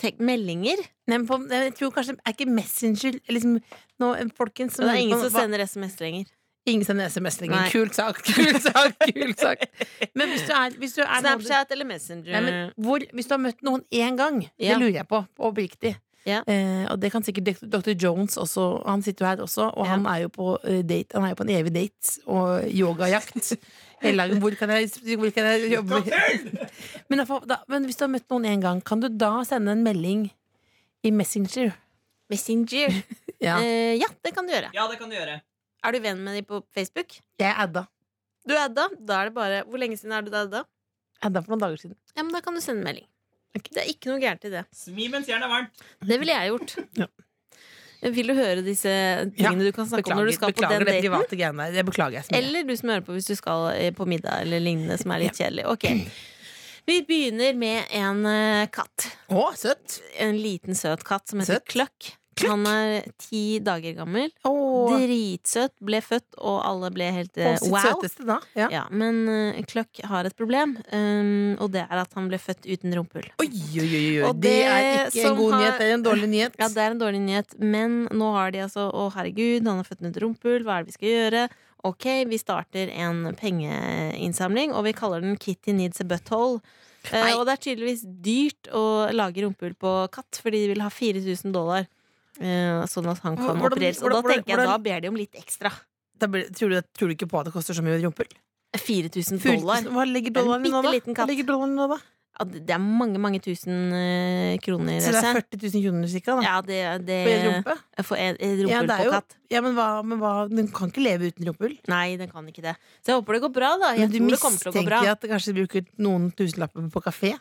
B: Tenk, meldinger.
C: Nei, men på, jeg tror kanskje Er ikke Messenger liksom, nå, Folkens
B: Og det er ingen som
C: hva-
B: sender SMS lenger.
C: Ingen sender SMS lenger.
B: Nei.
C: Kul sak, kul sak, kul
B: [laughs]
C: sak. Men hvis du er, hvis du er noen-
B: Snapchat eller Messenger.
C: Nei, men hvor, hvis du har møtt noen én gang, det
B: Eh. Ja.
C: lurer jeg på, oppriktig.
B: Ja.
C: Eh, og det kan sikkert dok- Dr. Jones også. Han sitter jo her også, og
B: Ja.
C: han er jo på eh, date Han er jo på en evig date og yogajakt.
B: [laughs]
C: Eller hvor kan jeg, hvor kan jeg jobbe? [laughs] men, i hvert fall da, men hvis du har møtt noen én gang, kan du da sende en melding i Messenger?
B: Messenger.
C: Ja.
B: Eh, [laughs] ja, det kan du gjøre.
G: Ja, det kan du gjøre.
B: Er du venn med dem på Facebook?
C: Jeg adda.
B: Du er adda. Da er det bare Hvor lenge siden er du da adda?
C: Adda for noen dager siden.
B: Ja, men da kan du sende en melding.
C: Ok.
B: Det er ikke noe gærent i det.
G: Smi mens jernet er varmt.
B: [laughs] Det ville jeg gjort.
C: Ja.
B: Vil du høre disse tingene du kan snakke om når du skal på
C: beklager
B: den
C: det
B: daten?
C: private greiene der. Det beklager jeg så mye.
B: Eller du som hører på hvis du skal eh, på middag eller lignende, som er litt kjedelig. Ok. Vi begynner med en eh, katt.
C: Å, søtt!
B: En liten, søt katt som heter
C: Søt?
B: Kløkk. Han er ti dager gammel.
C: Å,
B: Dritsøt. Ble født, og alle ble helt eh,
C: på sitt
B: wow.
C: søteste da. Ja.
B: Ja, men eh, Kløkk har et problem, eh, og det er at han ble født uten rumpehull.
C: Oi, oi, oi, oi.
B: Og
C: Det,
B: det
C: er ikke en
B: som
C: god
B: har-
C: nyhet, det er en dårlig nyhet.
B: Ja, det er en dårlig nyhet, men nå har de altså Å, herregud, han har født med et rumpehull, hva er det vi skal gjøre? Ok, vi starter en pengeinnsamling, og vi kaller den Kitty needs a butthole. Eh,
C: Nei.
B: og det er tydeligvis dyrt å lage rumpehull på katt, fordi de vil ha 4000 dollar. Eh, sånn at han kan
C: Hvordan-
B: opereres. Og da
C: hvordan-
B: tenker jeg
C: hvordan-
B: da ber de om litt ekstra.
C: Da blir- tror, du, tror du ikke på at det koster så mye i rumpehull?
B: 4000 dollar.
C: 4000 Hva ligger
B: Det er en
C: dollaren i nå, da?
B: bitteliten
C: Hva
B: katt.
C: ligger dollaren i nå, da?
B: Ja, det det er mange, mange tusen eh, kroner.
C: Så det er
B: Else.
C: 40 000 kroner cirka, da?
B: Ja, eh, det, det
C: For en rumpe?
B: For en, en
C: Ja,
B: rumpehull
C: det er
B: på
C: jo
B: katt.
C: Ja, men hva, men hva Den kan ikke leve uten rumpehull?
B: Nei, den kan ikke det. Så jeg håper det går bra, da. Jeg
C: Men du
B: tror det kommer til å gå bra.
C: mistenker at det kanskje bruker noen tusenlapper på kafé?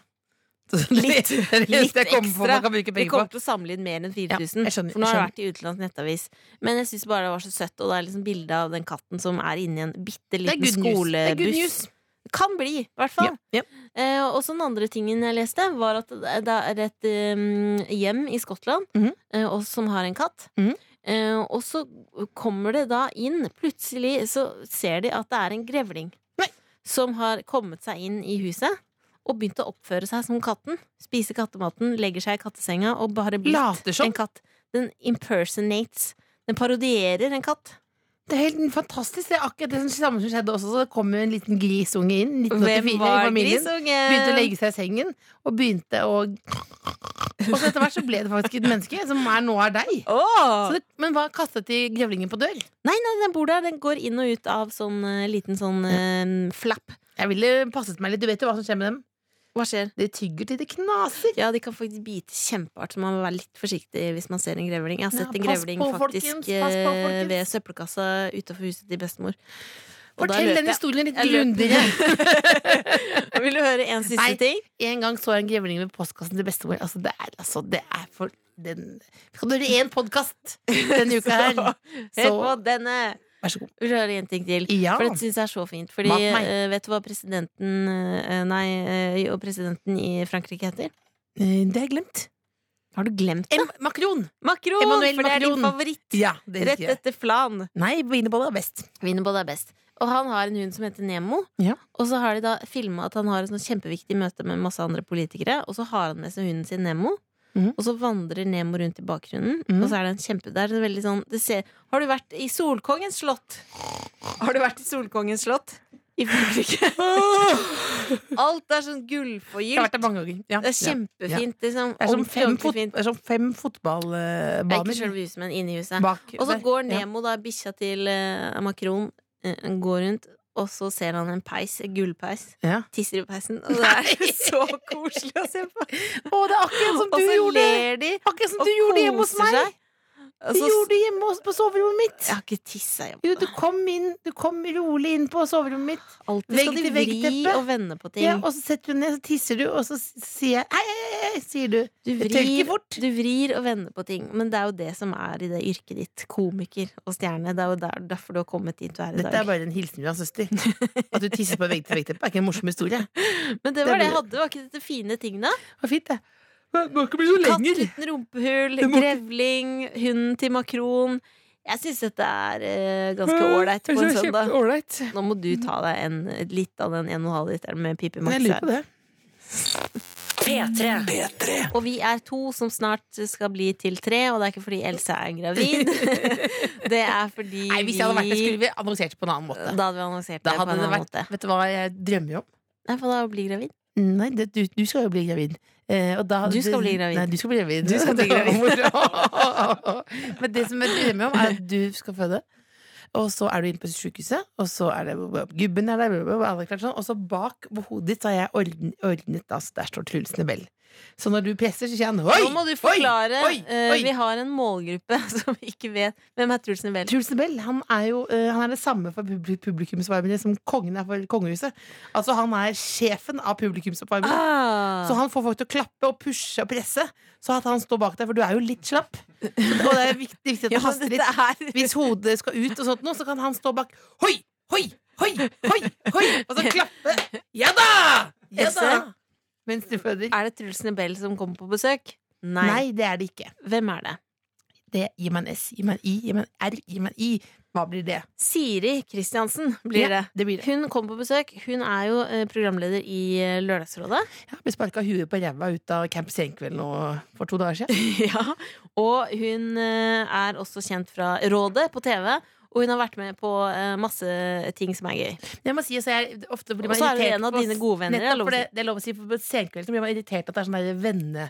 C: [laughs]
B: Litt-
C: det er det eneste jeg
B: litt
C: kommer på
B: ekstra.
C: man kan bruke
B: Vi
C: penger
B: kommer
C: på.
B: til å samle inn mer enn 4000.
C: Ja, jeg skjønner,
B: for nå har
C: jeg
B: det vært i utenlandsk nettavis. Men jeg syns bare det var så søtt, og det er liksom bilde av den katten som er inni en bitte
C: Det er
B: liten
C: good news. Det er good news.
B: skolebuss. Kan bli, i hvert fall.
C: Ja, ja.
B: Eh, og så den andre tingen jeg leste, var at det er et eh, hjem i Skottland
C: Mhm.
B: eh, og som har en katt.
C: Mhm.
B: Eh, og så kommer det da inn Plutselig så ser de at det er en grevling
C: Nei.
B: som har kommet seg inn i huset. Og begynt å oppføre seg som katten. Spise kattematen, legger seg i kattesenga og bare blitt
C: Later som.
B: en katt. Den impersonates. Den parodierer en katt.
C: Det er helt fantastisk. Det er akkurat det som- samme som skjedde også. Så det kom jo en liten grisunge inn. 1984, i familien.
B: grisungen?
C: Begynte å legge seg i sengen og begynte å [laughs] Og så etter hvert så ble det faktisk et menneske som er nå er deg. Så
B: Åh!
C: det, men hva kastet de grevlingen på dør?
B: Nei, nei, den bor der. Den går inn og ut av sånn eh, liten sånn eh, flapp.
C: Jeg ville passet meg litt. Du vet jo hva som skjer med dem.
B: Hva skjer?
C: De tygger til det knaser.
B: Ja, de kan faktisk bite kjempehardt, så man må være litt forsiktig hvis man ser en grevling. Jeg har sett
C: Ja,
B: en
C: pass
B: grevling
C: på,
B: faktisk
C: folkens, pass på,
B: eh,
C: folkens.
B: ved søppelkassa utafor huset til bestemor. Og da
C: Fortell
B: løper
C: den
B: jeg.
C: historien litt
B: Jeg løper.
C: grundigere.
B: [laughs] Vil du høre en siste
C: Nei.
B: ting?
C: En gang så jeg en grevling ved postkassen til bestemor. Altså, det er, altså, det er for den Skal du gjøre én podkast
B: [laughs]
C: denne uka her?
B: Hør
C: Så
B: på denne!
C: vær så god.
B: Vil du høre en ting til?
C: Ja.
B: For dette syns jeg er så fint. Fordi,
C: Mat meg.
B: eh, vet du hva presidenten eh, Nei, eh, jo, presidenten i Frankrike heter?
C: Eh, Det har jeg glemt.
B: Har du glemt det?
C: En makron.
B: Makron!
C: Emmanuel
B: for det er din
C: Macron.
B: favoritt.
C: Ja, det
B: Rett
C: husker jeg.
B: etter flan.
C: Nei, wienerbolle er best.
B: Wienerboll er best. Og han har en hund som heter Nemo.
C: Ja.
B: Og så har de da filma at han har et sånt kjempeviktig møte med masse andre politikere, og så har han med seg hunden sin Nemo.
C: Mhm.
B: Og så vandrer Nemo rundt i bakgrunnen,
C: Mhm.
B: og så er det en kjempe Det er en veldig sånn det ser, Har du vært i Solkongens slott? Har du vært i Solkongens slott? I
C: [laughs]
B: Frankrike. Alt er sånn
C: Jeg har vært
B: gullforgylt.
C: der mange ganger. Ja.
B: Det er
C: Ja.
B: kjempefint, liksom.
C: Det er som
B: Ordentlig,
C: fem,
B: ordentlig
C: fot
B: fint.
C: det er som fem
B: Det er
C: fotballbaner
B: Ikke selve huset, men inni huset.
C: bak
B: Og så
C: der.
B: går Nemo, da, bikkja til eh, Makron, eh, går rundt, og så ser han en peis, en gullpeis.
C: Ja.
B: Tisser i peisen, og det er så koselig å se [laughs] på.
C: Ja. Å, det er akkurat som
B: Og
C: du
B: så
C: gjorde!
B: ler de
C: Akkurat som
B: og
C: du gjorde hjemme hos
B: koser
C: meg!
B: seg. Og
C: Du
B: så-
C: gjorde det hjemme hos- på soverommet mitt!
B: Jeg har ikke tissa hjemme.
C: Jo, du kom inn, du kom rolig inn på soverommet mitt,
B: Alltid skal de vri
C: vegg-til-vegg-teppe.
B: og vende på ting.
C: ja, og så setter du ned, så tisser du, og så s- sier jeg hei, hei, hei, hei, sier du.
B: du,
C: Jeg tør ikke
B: vrir,
C: bort.
B: du vrir og vender på ting. Men det er jo det som er i det yrket ditt. Komiker og stjerne. Det er jo der, derfor du har kommet dit du er i
C: Dette er
B: dag.
C: bare en hilsen fra [laughs] søster. At du tisser på vegg til vegg-teppet, er ikke en morsom historie. Det
B: Men det var det jeg
C: blir-
B: hadde. Var ikke dette fine ting, da?
C: var fint, det. Det må ikke bli så
B: Katt uten rumpehull, grevling, hunden til makron. Jeg syns dette er eh, ganske ålreit på en
E: Så kjempe-
B: søndag.
E: Ålreit.
B: Nå må du ta deg en, litt av den 1,5 literen med Pippi Max.
C: Jeg lurer på det.
D: P3.
B: Og vi er to som snart skal bli til tre, og det er ikke fordi Else er gravid. det er fordi
C: [laughs] Nei, Hvis jeg hadde vært det, skulle vi annonsert på en annen måte.
B: Da hadde vi annonsert
C: Da
B: det på
C: hadde
B: en
C: det
B: annen
C: vært
B: måte.
C: Vet du hva jeg drømmer om?
B: Nei, for da å bli gravid.
C: Nei, det, du, du skal jo bli gravid. Eh, og da,
B: Du skal bli gravid.
C: Nei, du skal bli gravid.
B: Du skal bli gravid.
C: [laughs] Det var moro. [laughs] Men det som jeg drømmer om, er at du skal føde. Og så er du inne på sykehuset, og så er det gubben er der, alle er klart sånn. Og så bak på hodet ditt så har jeg ordn- ordnet, altså der står Truls Nebell. Så når du presser, så sier han oi!
B: Nå må du forklare.
C: Oi! Oi!
B: eh,
C: Oi!
B: vi har en målgruppe [laughs] som ikke vet Hvem er Truls Nebel?
C: Truls Nebell han er jo eh, han er det samme for publi- publikumsoppvarmere som kongen er for kongehuset. Altså Han er sjefen av publikumsoppvarmere.
B: Ah.
C: Så han får folk til å klappe og pushe og presse. Så at han står bak deg, for du er jo litt slapp. Og det er viktig, viktig
B: [laughs]
C: at
B: ja,
C: du haster
B: dette
C: litt.
B: er
C: Hvis hodet skal ut, og sånt noe, så kan han stå bak. Hoi, hoi, hoi, hoi, hoi! Og så klappe. Ja da! Ja da!
B: Else?
C: Mens du føder.
B: Er det Truls Nebel som kommer på besøk? Nei.
C: Nei, det er det ikke.
B: Hvem er det?
C: Det Gi meg en S, gi meg en I, gi meg en R, gi meg en I. Hva blir det?
B: Siri Kristiansen blir
C: Ja,
B: det.
C: det blir det.
B: Hun kommer på besøk. Hun er jo eh, programleder i eh,
C: [laughs]
B: Lørdagsrådet.
C: Jeg ble sparka huet på ræva ut av Camp Senkveld nå for to dager siden.
B: ja. Og hun eh, er også kjent fra Rådet på TV. Og hun har vært med på eh, masse ting som er gøy.
C: Jeg må si, altså, jeg, ofte blir
B: Og
C: man
B: så er det
C: irritert
B: en av
C: på-
B: dine gode venner, er det lov
C: Nettopp,
B: å si.
C: for det, det er lov å si for På senkveld så blir man irritert at det er sånn der venne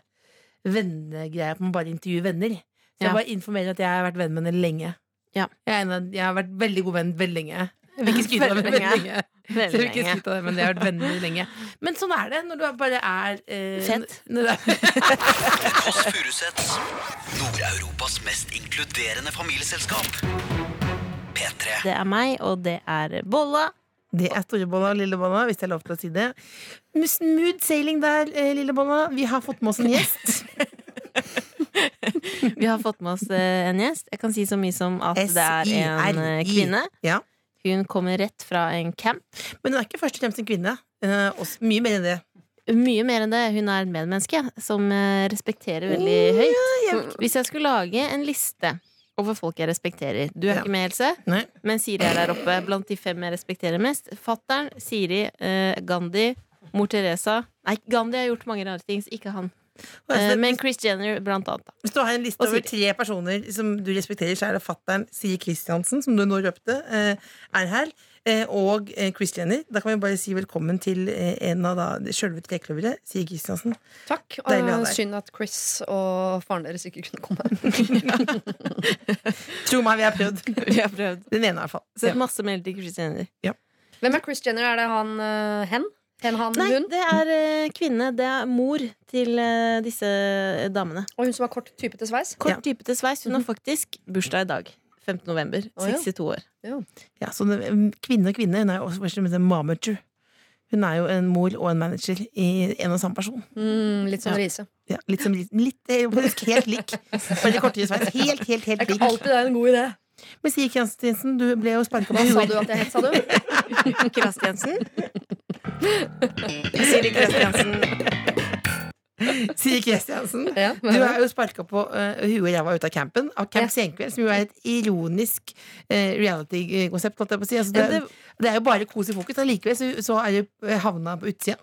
C: vennegreie, at man bare intervjuer venner. Så
B: Ja.
C: jeg bare informerer at jeg har vært venn med henne lenge.
B: Ja.
C: Jeg, er en av, jeg har vært veldig god venn veldig lenge. Jeg vil ikke skryte av det,
B: Veldig
C: veldig lenge. Så jeg
B: Veldig
C: vil ikke
B: lenge.
C: skryte av det, men jeg har vært venner lenge. Men sånn er det når du bare er eh,
B: Fett.
C: Når du er
A: Det Kåss Furuseths. Nord-Europas mest inkluderende familieselskap. P3.
B: Det er meg, og det er Bolla.
C: Det er Storebånda og Lillebånda, hvis det er lov til å si det. Smooth sailing der, eh, Lillebånda. Vi har fått med oss en gjest.
B: Vi har fått med oss eh, en gjest. Jeg kan si så mye som at [laughs] det er en eh,
C: S-I-R-I.
B: kvinne.
C: Ja.
B: Hun kommer rett fra en camp.
C: Men hun er ikke først og fremst en kvinne. Eh, også, mye mer enn det.
B: Mye mer enn det. Hun er et medmenneske som eh, respekterer veldig høyt.
C: jeg-
B: Hvis jeg skulle lage en liste over folk jeg respekterer Du er
C: Ja.
B: ikke med, Else,
C: Nei.
B: men Siri er der oppe. Blant de fem jeg respekterer mest. Fattern, Siri, eh, Gandhi, mor Teresa Nei, Gandhi har gjort mange rare ting, så ikke han. Eh, Men Chris Jenner, blant annet. da.
C: Hvis du har en liste
B: Og
C: over
B: Siri.
C: tre personer som du respekterer, så er det fattern Siri Kristiansen, som du nå røpte, eh, er her, eh, og eh, Chris Jenner. Da kan vi bare si velkommen til eh, en av da sjølve trekløveret, Siri Kristiansen. [laughs]
G: Takk.
C: Deilig å ha
G: og
C: deg.
G: Synd at Chris og faren deres ikke kunne komme.
C: Tro meg, vi har prøvd.
B: [laughs] Vi har prøvd.
C: Den ene, i hvert fall.
B: Sett masse meldinger til Chris Jenner.
G: Hvem er Chris Jenner? Er det han eh, hen? Hen, han,
B: Nei,
G: hun?
B: det er eh, kvinne. Det er mor til eh, disse damene. Mhm.
G: Og hun som har kort, typete sveis?
B: Kort
C: Ja.
B: typete sveis. Hun har faktisk bursdag i dag. 15. november.
G: Å, ja.
B: 62 år.
C: Ja, så det, mm, kvinne og kvinne, hun er jo også først og fremst en mamager. Hun er jo en mor og en manager i en og samme person.
G: Mm, litt sånn
C: Ja.
G: rise.
C: Ja, litt som litt, litt eh, faktisk helt lik. Bare kortere sveis. Helt, helt, helt
G: Det er ikke
C: lik.
G: alltid det er en god idé.
C: Men Siri Kristiansen, du ble jo sparka
G: Hva
C: på
G: sa
C: huet.
G: du at jeg het, sa
C: [laughs]
G: du?
B: Krast Jensen.
G: [laughs]
B: Siri Krast Jensen.
C: Siri Kristiansen.
G: Ja,
C: Du er jo sparka på uh, huet og ræva ut av campen av Camp
G: Ja.
C: Senkveld, som jo er et ironisk eh, reality-konsept. holdt jeg på å si. Altså, det,
B: Ja,
C: er- det er jo bare kos i fokus. Allikevel så, så er du eh, havna på utsida.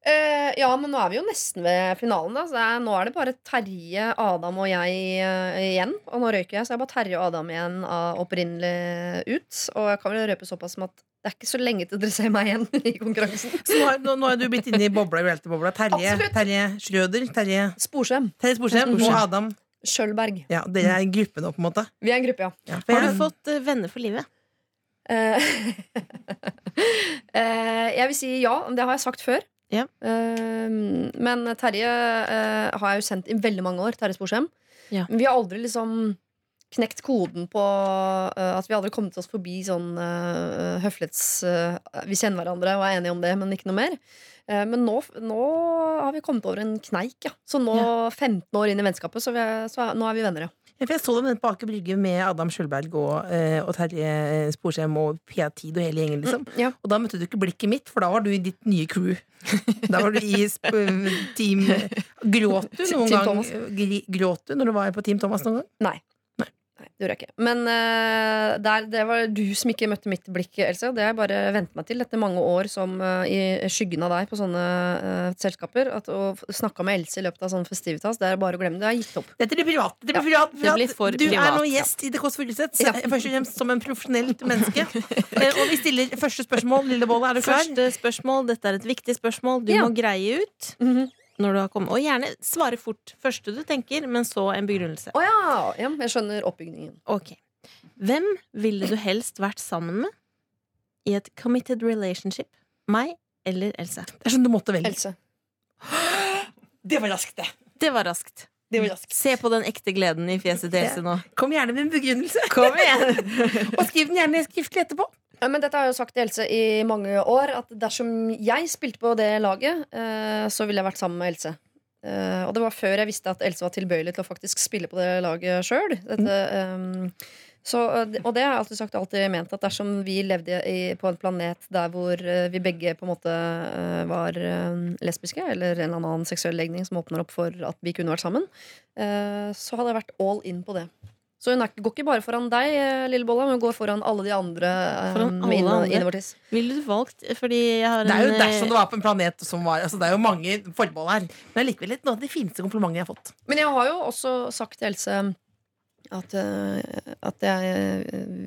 G: Eh, ja, men nå er vi jo nesten ved finalen. Da. Så det er, nå er det bare Terje, Adam og jeg eh, igjen. Og nå røyker jeg, så det er bare Terje og Adam igjen av opprinnelig ut. Og jeg kan vel røpe såpass som at det er ikke så lenge til dere ser meg igjen [laughs] i konkurransen.
C: Så nå, har- nå, nå er du blitt inne i bobla, reality-bobla. Terje,
G: Absolutt.
C: Terje Schrøder, Terje,
G: Sporsem.
C: Terje Sporsem og Adam.
G: Sjølberg.
C: Ja, Dere er i gruppen nå, på en måte.
G: Vi er en gruppe, ja.
C: Ja, for
B: Har du
C: jeg-
B: fått eh, venner for livet?
G: Eh, [laughs] eh, jeg vil si ja, det har jeg sagt før.
B: Ja.
G: Eh, men Terje eh, har jeg jo sendt i veldig mange år. Terje Sporsem.
B: Ja.
G: Men vi har aldri liksom knekt koden på eh, at vi aldri kommet oss forbi sånn eh, høflighets... eh, vi kjenner hverandre og er enige om det, men ikke noe mer. Eh, men nå, nå har vi kommet over en kneik. Ja. Så nå, 15 år inn i vennskapet, så, vi er, så er, nå er vi venner, ja.
C: Ja, for jeg så dem nede på Aker Brygge med Adam Sjølberg og, eh, og Terje Sporsem og Pia Tid og hele gjengen. liksom
G: ja.
C: Og da møtte du ikke blikket mitt, for da var du i ditt nye crew. Da var du i sp [laughs] Team Gråt du noen
G: Team
C: gang?
G: Thomas.
C: Gri- Gråt du når du var på Team Thomas noen gang?
G: Nei.
C: Nei.
G: Nei. Det gjorde jeg ikke. Men eh, der, det var du som ikke møtte mitt blikk, Else. Det har jeg bare vent meg til etter mange år som eh, i skyggen av deg på sånne eh, selskaper. At å snakke med Else i løpet av sånn festivitas, det er bare å glemme det. Jeg har gitt opp.
C: Dette blir privat. Dette blir privat,
B: det blir for
C: du
B: privat,
C: er nå
B: ja.
C: gjest i The Kåss Furuseths, først og fremst som en profesjonelt [laughs] menneske. Eh, Og vi stiller første spørsmål. Lillebolle, er du klar?
B: Første spørsmål. Dette er et viktig spørsmål. Du
G: Ja.
B: må greie ut når du har kommet. Og gjerne svare fort. Første du tenker, men så en begrunnelse.
G: Å ja, ja! Jeg skjønner oppbygningen.
B: Ok. Hvem ville du helst vært sammen med i et committed relationship? Meg eller Else?
C: Det er sånn du måtte velge.
G: Else.
C: Det var raskt, det.
B: Det var raskt.
C: det var raskt.
B: Se på den ekte gleden i fjeset til Else nå.
C: Kom gjerne med en begrunnelse.
B: Kom igjen!
C: Og skriv den gjerne skriftlig etterpå.
G: Ja, men dette har jeg jo sagt til Else i mange år, at dersom jeg spilte på det laget, eh, så ville jeg vært sammen med Else. Eh, og det var før jeg visste at Else var tilbøyelig til å faktisk spille på det laget sjøl. og eh, det har jeg alltid sagt og alltid ment, at dersom vi levde i, på en planet der hvor eh, vi begge på en måte eh, var eh, lesbiske, eller en eller annen seksuell legning som åpner opp for at vi kunne vært sammen, eh, så hadde jeg vært all in på det. Så hun er, ikke- går ikke bare foran deg, eh, lille bolla, men hun går foran alle de andre eh,
B: Foran alle
G: inne-
B: andre.
G: innevortis.
B: [laughs] Ville du valgt fordi jeg har
C: Det er jo
B: en
C: dersom det var på en planet som var altså Det er jo mange forbehold her. Men likevel et noe av de fineste komplimentene jeg har fått.
G: Men jeg har jo også sagt til Else at, øh, at jeg øh,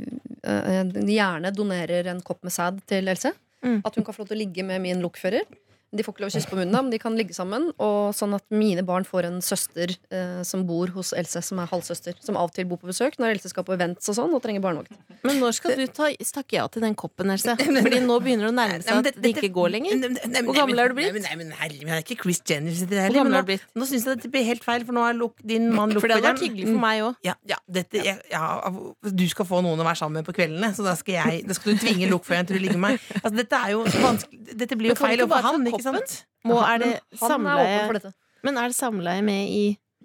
G: øh, gjerne donerer en kopp med sæd til Else.
B: Mm.
G: At hun kan få lov til å ligge med min lokfører. De får ikke lov å kysse på munnen, da, men de kan ligge sammen. Og sånn at mine barn får en søster øh, som bor hos Else, som er halvsøster. Som av og til bor på besøk når Else skal på events og sånn og trenger barnevakt.
B: Men når skal du ta, takke ja til den koppen, [laughs] Else? Fordi nå begynner det å nærme seg at det ikke går lenger. Hvor gammel er du blitt?
C: Nei, men, nei, men herlig, men jeg er ikke Chris Jenner. sitter her,
B: Hvor gammel
C: men
B: er du blitt?
C: Nå, nå syns jeg dette blir helt feil, for nå er luk, din mann
B: For det hadde
C: lokføreren.
B: vært hyggelig for
G: Mm.
B: meg òg.
C: Ja, ja, dette, jeg, ja, du skal få noen å være sammen med på kveldene, så da skal, jeg, da skal du tvinge lokføreren til å ligge med meg. Altså, dette, er jo vanskelig- dette blir
B: Men
C: jo
B: kan du
C: feil
B: ikke bare
C: overfor
B: ta
C: han, ikke
B: koppen?
C: sant?
B: Må, er det
G: Han er åpen for
B: samleie
G: dette.
B: Men er det samleie med i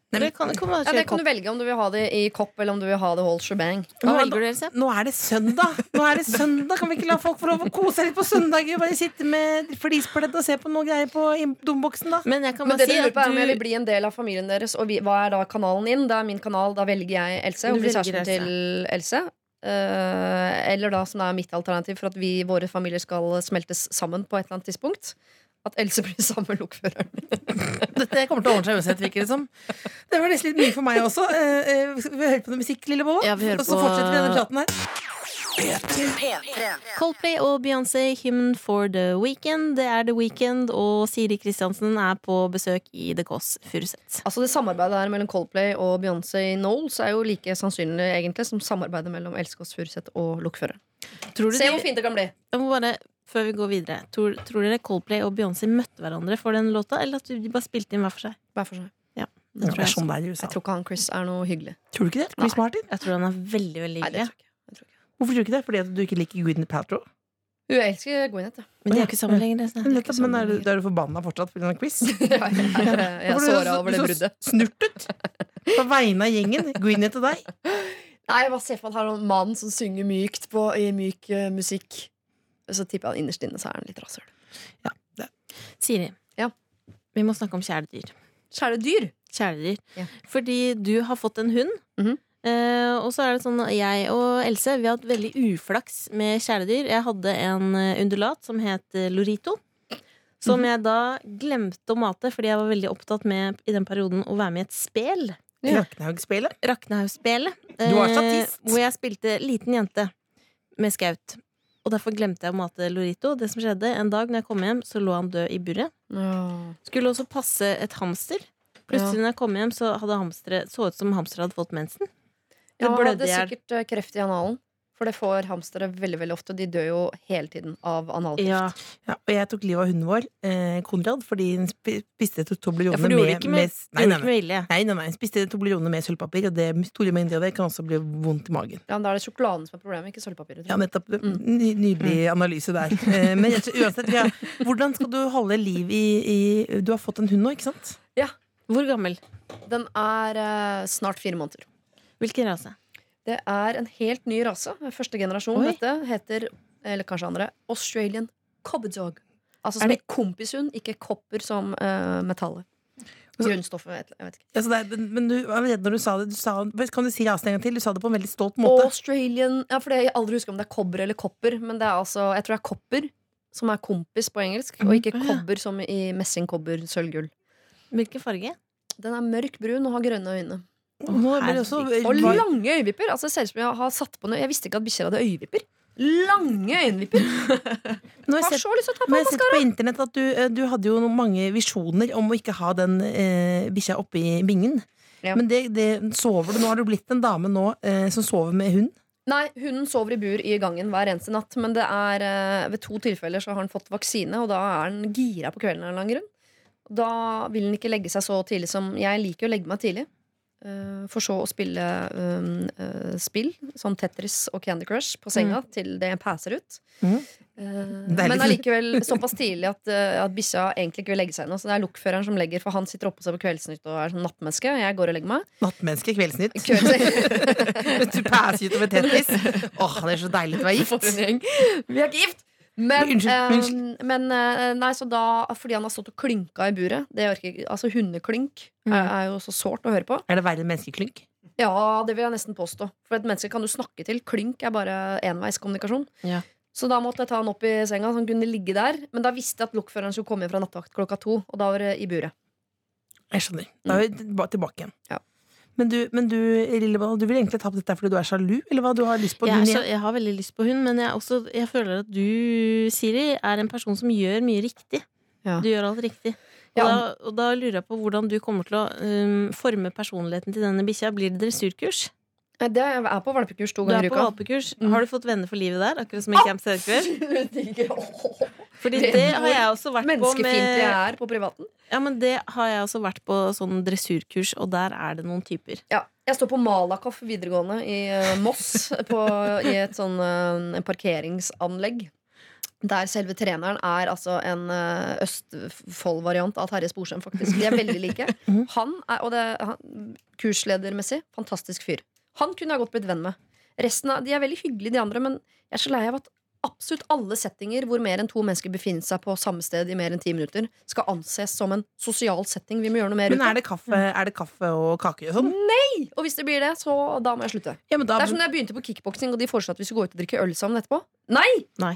C: Nei,
B: Det
C: men-
B: kan, kan man
G: Ja,
B: kjøre
G: det kan du
B: kopp.
G: velge om du vil ha det i kopp, eller om du vil ha det whole shebang.
B: Hva
C: Nå er
B: velger du, Else?
C: Nå er det søndag! Nå er det søndag Kan vi ikke la folk få lov å kose seg litt på søndager? og Bare sitte med flispledd og se på noe greier på im- domboksen, da?
B: Men jeg kan
G: Men
B: bare
G: det du
B: si
G: lurer
B: at
G: på er om jeg vil
B: du
G: bli en del av familien deres, og vi, hva er da kanalen inn? Det er min kanal, da velger jeg Else,
B: Du
G: og blir
B: velger
G: kjæresten
B: Else.
G: til Else. Eh, eller da, som er mitt alternativ for at vi, våre familier skal smeltes sammen på et eller annet tidspunkt. At Else [laughs] blir sammen med lokføreren.
C: Dette kommer til å ordne seg uansett, virker det som. Det var nesten litt mye for meg også. Eh, eh, skal vi høre på noe musikk, lille Bolla?
B: Ja, vi hører
C: og så
B: på-
C: fortsetter vi denne praten her.
D: P3.
B: Coldplay og Beyoncé, Hymn for the Weekend. Det er The Weekend, og Siri Kristiansen er på besøk i The Kåss Furuseth.
G: Altså Det samarbeidet her mellom Coldplay og Beyoncé Knowles er jo like sannsynlig egentlig som samarbeidet mellom Else Kåss Furuseth og lokføreren.
B: Tror du
G: Se
B: de,
G: hvor fint det kan bli!
B: jeg må bare, før vi går videre, tror, tror dere Coldplay og Beyoncé møtte hverandre for den låta, eller at de bare spilte inn hver for seg?
G: Hver for seg.
B: Det tror jeg.
C: sånn det er i USA.
G: Jeg tror ikke han Chris er noe hyggelig.
C: Tror du ikke det? Chris Martin?
B: Jeg tror han er veldig veldig
G: Nei, det
B: hyggelig.
G: tror jeg ikke. Jeg tror ikke.
C: Hvorfor tror du ikke det? Fordi at du ikke liker Gwyneth Paltrow?
G: Hun elsker Gwyneth, ja.
B: Men de er jo ikke sammen lenger. nesten.
C: Nettopp, men er du, da er du forbanna fortsatt pga. Chris?
G: Jeg er, jeg
C: Hvorfor
G: er
C: er du
G: såra
C: så-
G: over det
C: så
G: bruddet.
C: Snurtet? På vegne av gjengen? Gwyneth og deg?
G: Nei, jeg bare ser for meg at han er en mann som synger mykt på, i myk eh, musikk. Så tipper jeg at innerst inne så er han litt rasshøl.
B: Siri,
G: Ja.
B: vi må snakke om kjæledyr.
G: Kjæledyr!
B: kjæledyr.
G: Ja.
B: Fordi du har fått en hund.
G: Mhm.
B: Eh, og så er det sånn at jeg og Else vi har hatt veldig uflaks med kjæledyr. Jeg hadde en eh, undulat som het eh, Lorito. Som jeg da glemte å mate fordi jeg var veldig opptatt med i den perioden å være med i et spel.
G: Ja.
C: Raknehaug-spelet?
B: Raknehaugspelet.
C: Du var statist.
B: eh, hvor jeg spilte liten jente med skaut. Og derfor glemte jeg å mate Lorito. Det som skjedde En dag når jeg kom hjem, så lå han død i buret. Skulle også passe et hamster. Plutselig når jeg kom hjem, så hadde hamsteret så ut som hamsteret hadde fått mensen. Det
G: Ja, han
B: blødde
G: hadde
B: i hjel.
G: sikkert eh, kreft i analen. For det får hamstere veldig veldig ofte. De dør jo hele tiden av analkreft.
B: Ja.
C: Ja, og jeg tok livet av hunden vår, eh, Konrad, fordi hun spi- spiste to-
B: ja,
C: toblerone
B: for du gjorde det
C: med,
B: ikke med,
C: s-
B: du
C: nei,
B: gjorde det ikke
C: nei, nei.
B: med vilje.
C: Nei, nei, nei, hun spiste toblerone med sølvpapir, og det store mengder av det kan også bli vondt i magen.
G: Ja, men Da er det sjokoladen som er problemet, ikke sølvpapiret.
C: Ja,
G: tror jeg.
C: nettopp.
B: Mm.
C: Ny, nydelig analyse der. Eh, Men jeg tror- uansett, ja, hvordan skal du holde liv i, i Du har fått en hund nå, ikke sant?
B: Hvor gammel?
G: Den er eh, snart fire måneder.
B: Hvilken rase?
G: Det er en helt ny rase. Første generasjon.
B: Oi.
G: Dette heter, eller kanskje andre, Australian Cobberdog. Altså
B: Er
G: som
B: det-
G: det... kompishund, ikke kopper som eh, metallet.
B: Altså-
G: Grunnstoffet, jeg vet ikke.
C: Altså, det er, men- men du, jeg var redd når du sa det. Du sa, kan du si rasen en gang til? Du sa det på en veldig stolt måte.
G: Australian Ja, for jeg aldri husker om det er kobber eller kopper, men det er altså Jeg tror det er kopper, som er kompis på engelsk, og ikke
C: Mm.
B: Å, ja.
G: kobber som i messingkobber, sølvgull.
B: Hvilken farge?
G: Den er mørk brun og har grønne øyne.
C: Nå ble det også
G: Og lange øyevipper! Altså, det ser ut som jeg har satt på noe Jeg visste ikke at bikkjer hadde øyevipper. Lange øyenvipper!
C: Nå har
G: Har
C: jeg sett,
G: så lyst til å ta
C: nå
G: på
C: har jeg sett på internett at du, eh, du hadde jo noen mange visjoner om å ikke ha den eh, bikkja oppi bingen.
G: Ja.
C: Men det, det sover du. Nå har du blitt en dame nå eh, som sover med hund.
G: Nei, hunden sover i bur i gangen hver eneste natt. Men det er, eh, ved to tilfeller så har han fått vaksine, og da er han gira på kvelden. av en eller annen grunn. Da vil han ikke legge seg så tidlig som Jeg liker å legge meg tidlig. eh, For så å spille eh, eh, spill, sånn Tetris og Candy Crush, på senga til det passer ut.
C: Mhm.
G: Eh,
C: Deilig.
G: Men allikevel såpass tidlig at, eh, at bikkja egentlig ikke vil legge seg ennå. Så det er lokføreren som legger, for han sitter oppe seg på Kveldsnytt og er sånn nattmenneske. Jeg går og legger meg.
C: Nattmenneske, Kveldsnytt. [laughs]
G: Kveldsnytt.
C: Mens du passer ut over Tetris. Åh, det er så deilig at du er
G: For en
C: gift.
G: gjeng. [laughs] Vi er ikke gift! Men,
C: Unnskyld,
G: eh,
C: unnskyld.
G: men eh, nei, så da, fordi han har stått og klynka i buret det orker jeg ikke, Altså Hundeklynk
B: Mm.
G: er, er jo så sårt å høre på.
C: Er det verre enn menneskeklynk?
G: Ja, det vil jeg nesten påstå. For et menneske kan du snakke til. Klynk er bare enveiskommunikasjon.
B: Ja.
G: Så da måtte jeg ta han opp i senga, så han kunne ligge der. Men da visste jeg at lokføreren skulle komme hjem fra nattevakt klokka to. Og da var det i buret.
C: Jeg skjønner. Da er vi tilba- tilbake igjen.
G: Mm. Ja.
C: Men du, men du Lilleboll, du vil egentlig ta på dette fordi du er sjalu? Eller hva du har lyst på?
B: Jeg, er
C: hund igjen?
B: så, jeg har veldig lyst på hund, men jeg, er også, jeg føler at du, Siri, er en person som gjør mye riktig.
G: Ja.
B: Du gjør alt riktig. Og,
G: Ja.
B: da, og da lurer jeg på hvordan du kommer til å um, forme personligheten til denne bikkja. Blir det dressurkurs?
G: Nei, eh, Det er jeg er på valpekurs to
B: Du er
G: ganger i
B: på
G: [laughs] uka.
B: valpekurs.
G: Mm.
B: Har du fått venner for livet der? Akkurat som i Camp Sørkveld?
G: Digger. Åh,
B: Fordi
G: Det-
B: det har jeg også vært på
G: Menneskefiendtlig jeg
B: med
G: er på privaten.
B: Ja, men det har jeg også vært på sånn dressurkurs, og der er det noen typer.
G: Ja, jeg står på Malakoff videregående i eh, Moss, på, i et sånn eh, parkeringsanlegg. Der selve treneren er altså en eh, Østfold-variant av Terje Sporsem, faktisk. De er veldig
C: [laughs]
G: like.
C: Mhm.
G: Han er, og det, han, kursledermessig, fantastisk fyr. Han kunne jeg godt blitt venn med. Resten av, De er veldig hyggelige, de andre, men jeg er så lei av at absolutt alle settinger hvor mer enn to mennesker befinner seg på samme sted i mer enn ti minutter, skal anses som en sosial setting. Vi må gjøre noe mer ut
C: Men
G: av
C: er det kaffe, er det kaffe og kaker og sånn?
G: det. Og hvis det blir det, så da må jeg slutte.
C: Ja, men da,
G: Mm. Det er sånn som da jeg begynte på kickboksing, og de foreslo at vi skulle gå ut og drikke øl sammen etterpå. Nei!
B: Nei.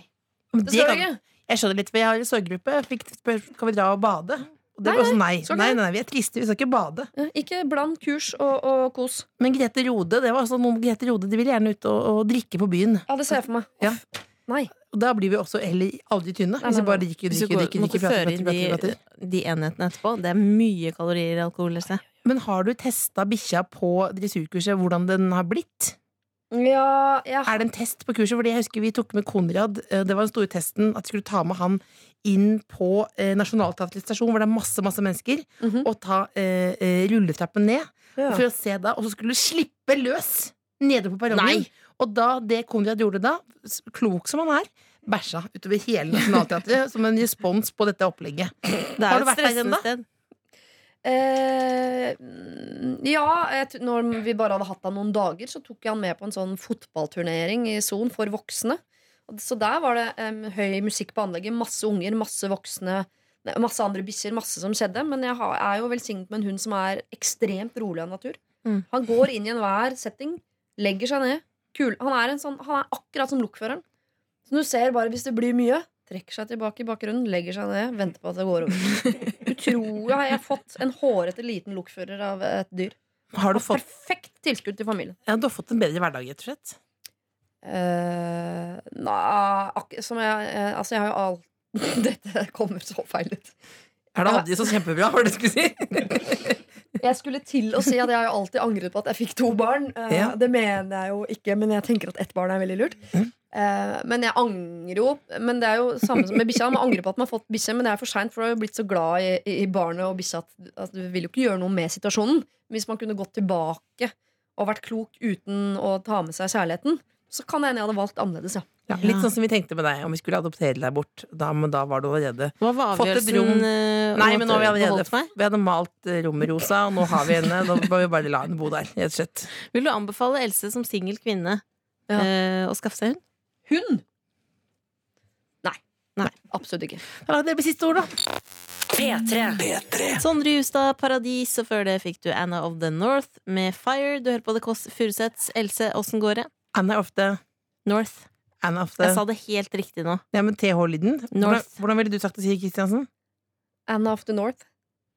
C: men
G: Det
C: det
G: skal
C: kan,
G: du ikke.
C: jeg skjønner litt, for jeg har en sorggruppe. Jeg Fikk spørsmål kan vi dra og bade. Og det
G: Nei,
C: var sånn nei.
G: skal ikke
C: Nei,
G: det.
C: nei, vi er triste, vi skal ikke bade.
G: Ja, Eh, Ikke bland kurs og, og kos.
C: Men Grete Rode det var sånn, om Grete Rode de vil gjerne ut og, og drikke på byen.
G: Ja, det ser jeg for meg.
C: Ja.
G: Uff. Nei.
C: Og da blir vi også heller aldri tynne.
G: Nei,
C: Hvis vi
G: nei,
C: bare
G: nei.
C: drikker,
B: Hvis du
C: drikker,
B: går,
C: drikker,
B: må ikke
C: drikker, prater,
B: føre inn
C: prater, prater,
B: de,
C: prater.
B: de enhetene etterpå. Det er mye kalorier i alkohol. Else.
C: Men har du testa bikkja på dressurkurset, hvordan den har blitt?
G: Ja, jeg
C: Er det en test på kurset? Fordi jeg husker vi tok med Konrad. eh, Det var den store testen at vi skulle ta med han inn på eh, Nationaltheatret stasjon, hvor det er masse masse mennesker,
G: Mhm.
C: og ta eh, eh, rulletrappen ned
G: Ja.
C: for å se da, og så skulle du slippe løs nede på perrongen.
B: Nei.
C: Og da det Konrad gjorde da, s- klok som han er, bæsja utover hele Nationaltheatret [laughs] som en respons på dette opplegget.
B: Det
C: Har
B: er
C: du
B: jo et
C: vært der ennå?
B: stressende sted.
G: Eh, mm, ja, jeg t- når vi bare hadde hatt han noen dager, så tok jeg han med på en sånn fotballturnering i Son for voksne. Og Så der var det em, høy musikk på anlegget, masse unger, masse voksne, ne, masse andre bikkjer, masse som skjedde. Men jeg har, er jo velsignet med en hund som er ekstremt rolig av natur.
B: Mm.
G: Han går inn i enhver setting, legger seg ned. Kul. Han, er en sånn, han er akkurat som lokføreren. Så du ser bare hvis det blir mye, trekker seg tilbake i bakgrunnen, legger seg ned, venter på at det går over. Utrolig har jeg fått en hårete liten lokfører av et dyr.
C: Har du
G: Og
C: fått,
G: Perfekt tilskudd til familien.
C: ja, du har fått en bedre hverdag, rett og slett?
G: Eh, nei, ak som jeg, eh, altså jeg har jo all [laughs] Dette kommer så feil ut.
C: Er det aldri så kjempebra, var det du skulle si? [laughs]
G: Jeg skulle til å si at jeg har jo alltid angret på at jeg fikk to barn. Eh,
C: Ja.
G: Det mener jeg jo ikke, men jeg tenker at ett barn er veldig lurt. Eh, men jeg angrer jo Men det er jo samme som med bikkja. Man angrer på at man har fått bikkje, men det er for seint, for du har jo blitt så glad i, i- i barnet og bikkja at at du vil jo ikke gjøre noe med situasjonen. Men Hvis man kunne gått tilbake og vært klok uten å ta med seg kjærligheten, så kan det hende jeg hadde valgt annerledes, ja.
C: Ja, litt sånn som vi tenkte med deg om vi skulle adoptere deg bort. Da, men da var du allerede
B: Hva var
C: Fått et
B: avgjørelsen?
C: rom.
B: eh, om
C: Nei, men nå har vi
B: at du
C: allerede
B: beholdt meg?
C: Vi hadde malt eh, rommet rosa, og nå har vi henne. Da må vi bare la henne bo der. rett og slett
B: Vil du anbefale Else som singel kvinne
G: Ja.
B: eh, å skaffe seg hund?
G: Hund? Nei.
B: Nei.
G: Absolutt ikke.
C: Ja, Det blir siste ord, da.
D: P3.
A: P3.
B: Sondre Justad, Paradis, og før det fikk du Anna of the North med Fire. Du hører på The Kåss Furuseths. Else, åssen går det?
C: Anna er ofte
B: North.
C: Anna er ofte
B: Jeg sa det helt riktig nå.
C: Ja, men TH-lyden. Hvordan,
B: North.
C: hvordan ville du sagt det, sier Kristiansen?
G: Anna of the North.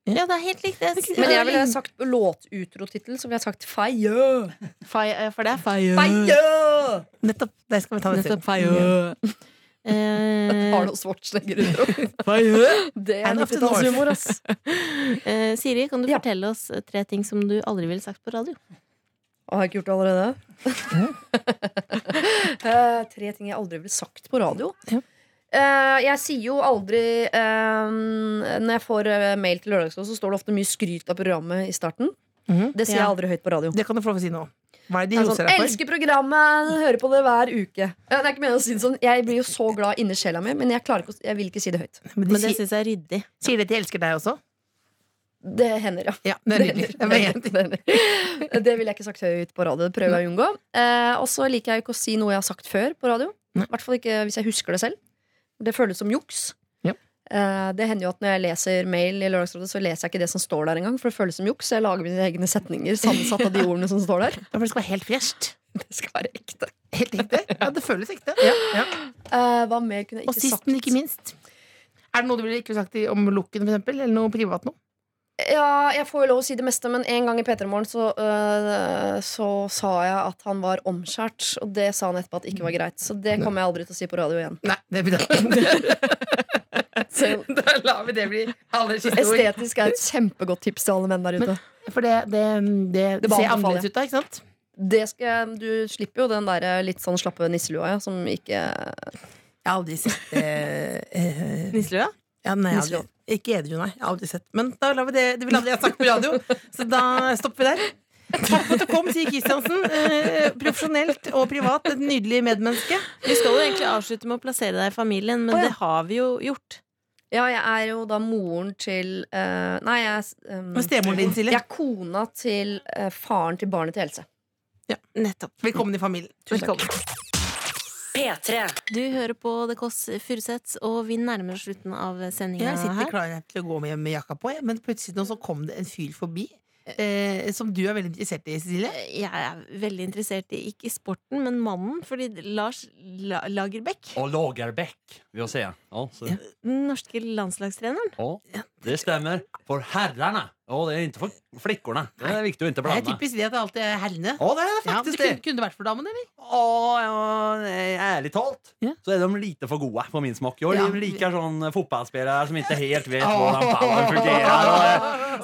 B: Ja, det er helt riktig. Jeg-
G: Men jeg ville sagt låtutrotittel, så ville jeg sagt Fire.
B: Fire, eh, for det er
C: Mm.
B: Fire.
G: Fire!
C: Nettopp. Der skal vi ta det
B: Nettopp
C: til.
B: Fire. Eh,
G: Arnold Schwarzenegger-utro. Det er
C: Anna of the
G: 90-tallshumor, [laughs] ass.
B: eh, Siri, kan du
G: Ja.
B: fortelle oss tre ting som du aldri ville sagt på radio?
G: Å, Har jeg ikke gjort det allerede?
C: Mm.
G: Eh, tre ting jeg aldri ville sagt på radio.
C: Ja.
G: Eh, jeg sier jo aldri eh, Når jeg får eh, mail til Lørdagsrådet, så står det ofte mye skryt av programmet i starten.
C: Mhm.
G: Det sier jeg
B: Ja.
G: aldri høyt på radio.
C: Det kan du få lov å si nå. Hva er det de
G: Jeg er
C: roser
G: sånn,
C: deg for?
G: elsker programmet, hører på det hver uke. Eh, Det er ikke meningen å si det sånn Jeg blir jo så glad inni sjela mi, men jeg, klarer ikke, å- jeg vil ikke si det høyt.
C: Men de
B: Men det
C: sier,
B: syns jeg er ryddig.
C: sier de at de elsker deg også?
G: Det hender, ja.
C: [laughs] Ja, det er nydelig. Jeg mener-
G: Det hender. Det ville jeg ikke sagt høyt på radio. Det prøver jeg å unngå. Eh, og så liker jeg jo ikke å si noe jeg har sagt før på radio.
C: Nei.
G: I hvert fall ikke hvis jeg husker det selv. Det føles som juks.
C: Ja.
G: Eh, det hender jo at når jeg leser mail i Lørdagsrådet, så leser jeg ikke det som står der engang, for det føles som juks. Jeg lager mine egne setninger sammensatt av de ordene som står
C: [laughs]
G: der.
C: Ja, for Det skal være helt fresht.
G: Det skal være ekte.
C: Helt ekte. Ja, det føles ekte. Ja. Ja.
G: Eh, hva mer kunne jeg
C: Og
G: ikke
C: sist,
G: sagt?
C: men ikke minst. Er det noe du ville ikke sagt i- om looken, for eksempel? Eller noe privat noe?
G: Ja, jeg får jo lov å si det meste, men en gang i P3 Morgen så, øh, så sa jeg at han var omskjært. Og det sa han etterpå at ikke var greit. Så det kommer jeg aldri til å si på radio igjen.
C: Nei, det blir [laughs] da.
G: [laughs] Så
C: da lar vi det bli aller siste ord.
G: estetisk er et kjempegodt tips til alle menn der ute.
C: For det, det, det,
G: Det var
C: ser
G: anbefaler.
C: annerledes ut da, ikke sant?
G: Det skal, jeg- du slipper jo den der litt sånn slappe nisselua ja, som ikke
C: Jeg har aldri sett [laughs] eh, eh,
B: Nisselua?
C: ja, nei, jeg har aldri, Ikke edru, nei. Jeg har aldri sett. Men da lar vi det. Det ville aldri jeg sagt på radio, så da stopper vi der. Takk for at du kom, sier Kristiansen. Eh, profesjonelt og privat. Et nydelig medmenneske.
B: Vi skal jo egentlig avslutte med å plassere deg i familien, men
G: Å, ja.
B: det har vi jo gjort.
G: Ja, jeg er jo da moren til øh, Nei, jeg er s- øhm,
C: Og stemoren din,
G: jeg
C: Silje.
G: er kona til øh, faren til barnet til Else.
B: Nettopp.
C: Velkommen i familien.
B: Velkommen.
D: P3.
B: Du hører på The Kåss Furuseths, og vi nærmer oss slutten av sendinga
C: Jeg sitter
B: her.
C: klar til å gå med, med jakka på, jeg, men plutselig nå så kom det en fyr forbi. Eh, som du er veldig interessert i, Cecilie.
B: Eh, Jeg er veldig interessert i ikke sporten, men mannen, fordi Lars La Lagerbäck,
H: Och Lagerbäck, vill jag säga. Ja, så,
C: Ja.
B: den norske landslagstreneren
H: ja, det stämmer. För herrarna. Ja, det är inte för flickorna. Det är viktigt att inte
C: Det er
H: blanda.
C: typisk det at det alltid er herrene.
H: Ja, det är det
C: Ja, det
H: faktiskt
C: kunne,
H: det.
C: kunne det vært for damene, eller?
H: Ja, ja, nej, ärligt talat
C: Ja.
H: så är de lite för goa på min smak. Jag är
C: Ja.
H: ja. lika sån fotbollsspelare sånn som inte
B: [laughs]
H: helt vet hur den pallen fungerar. Och,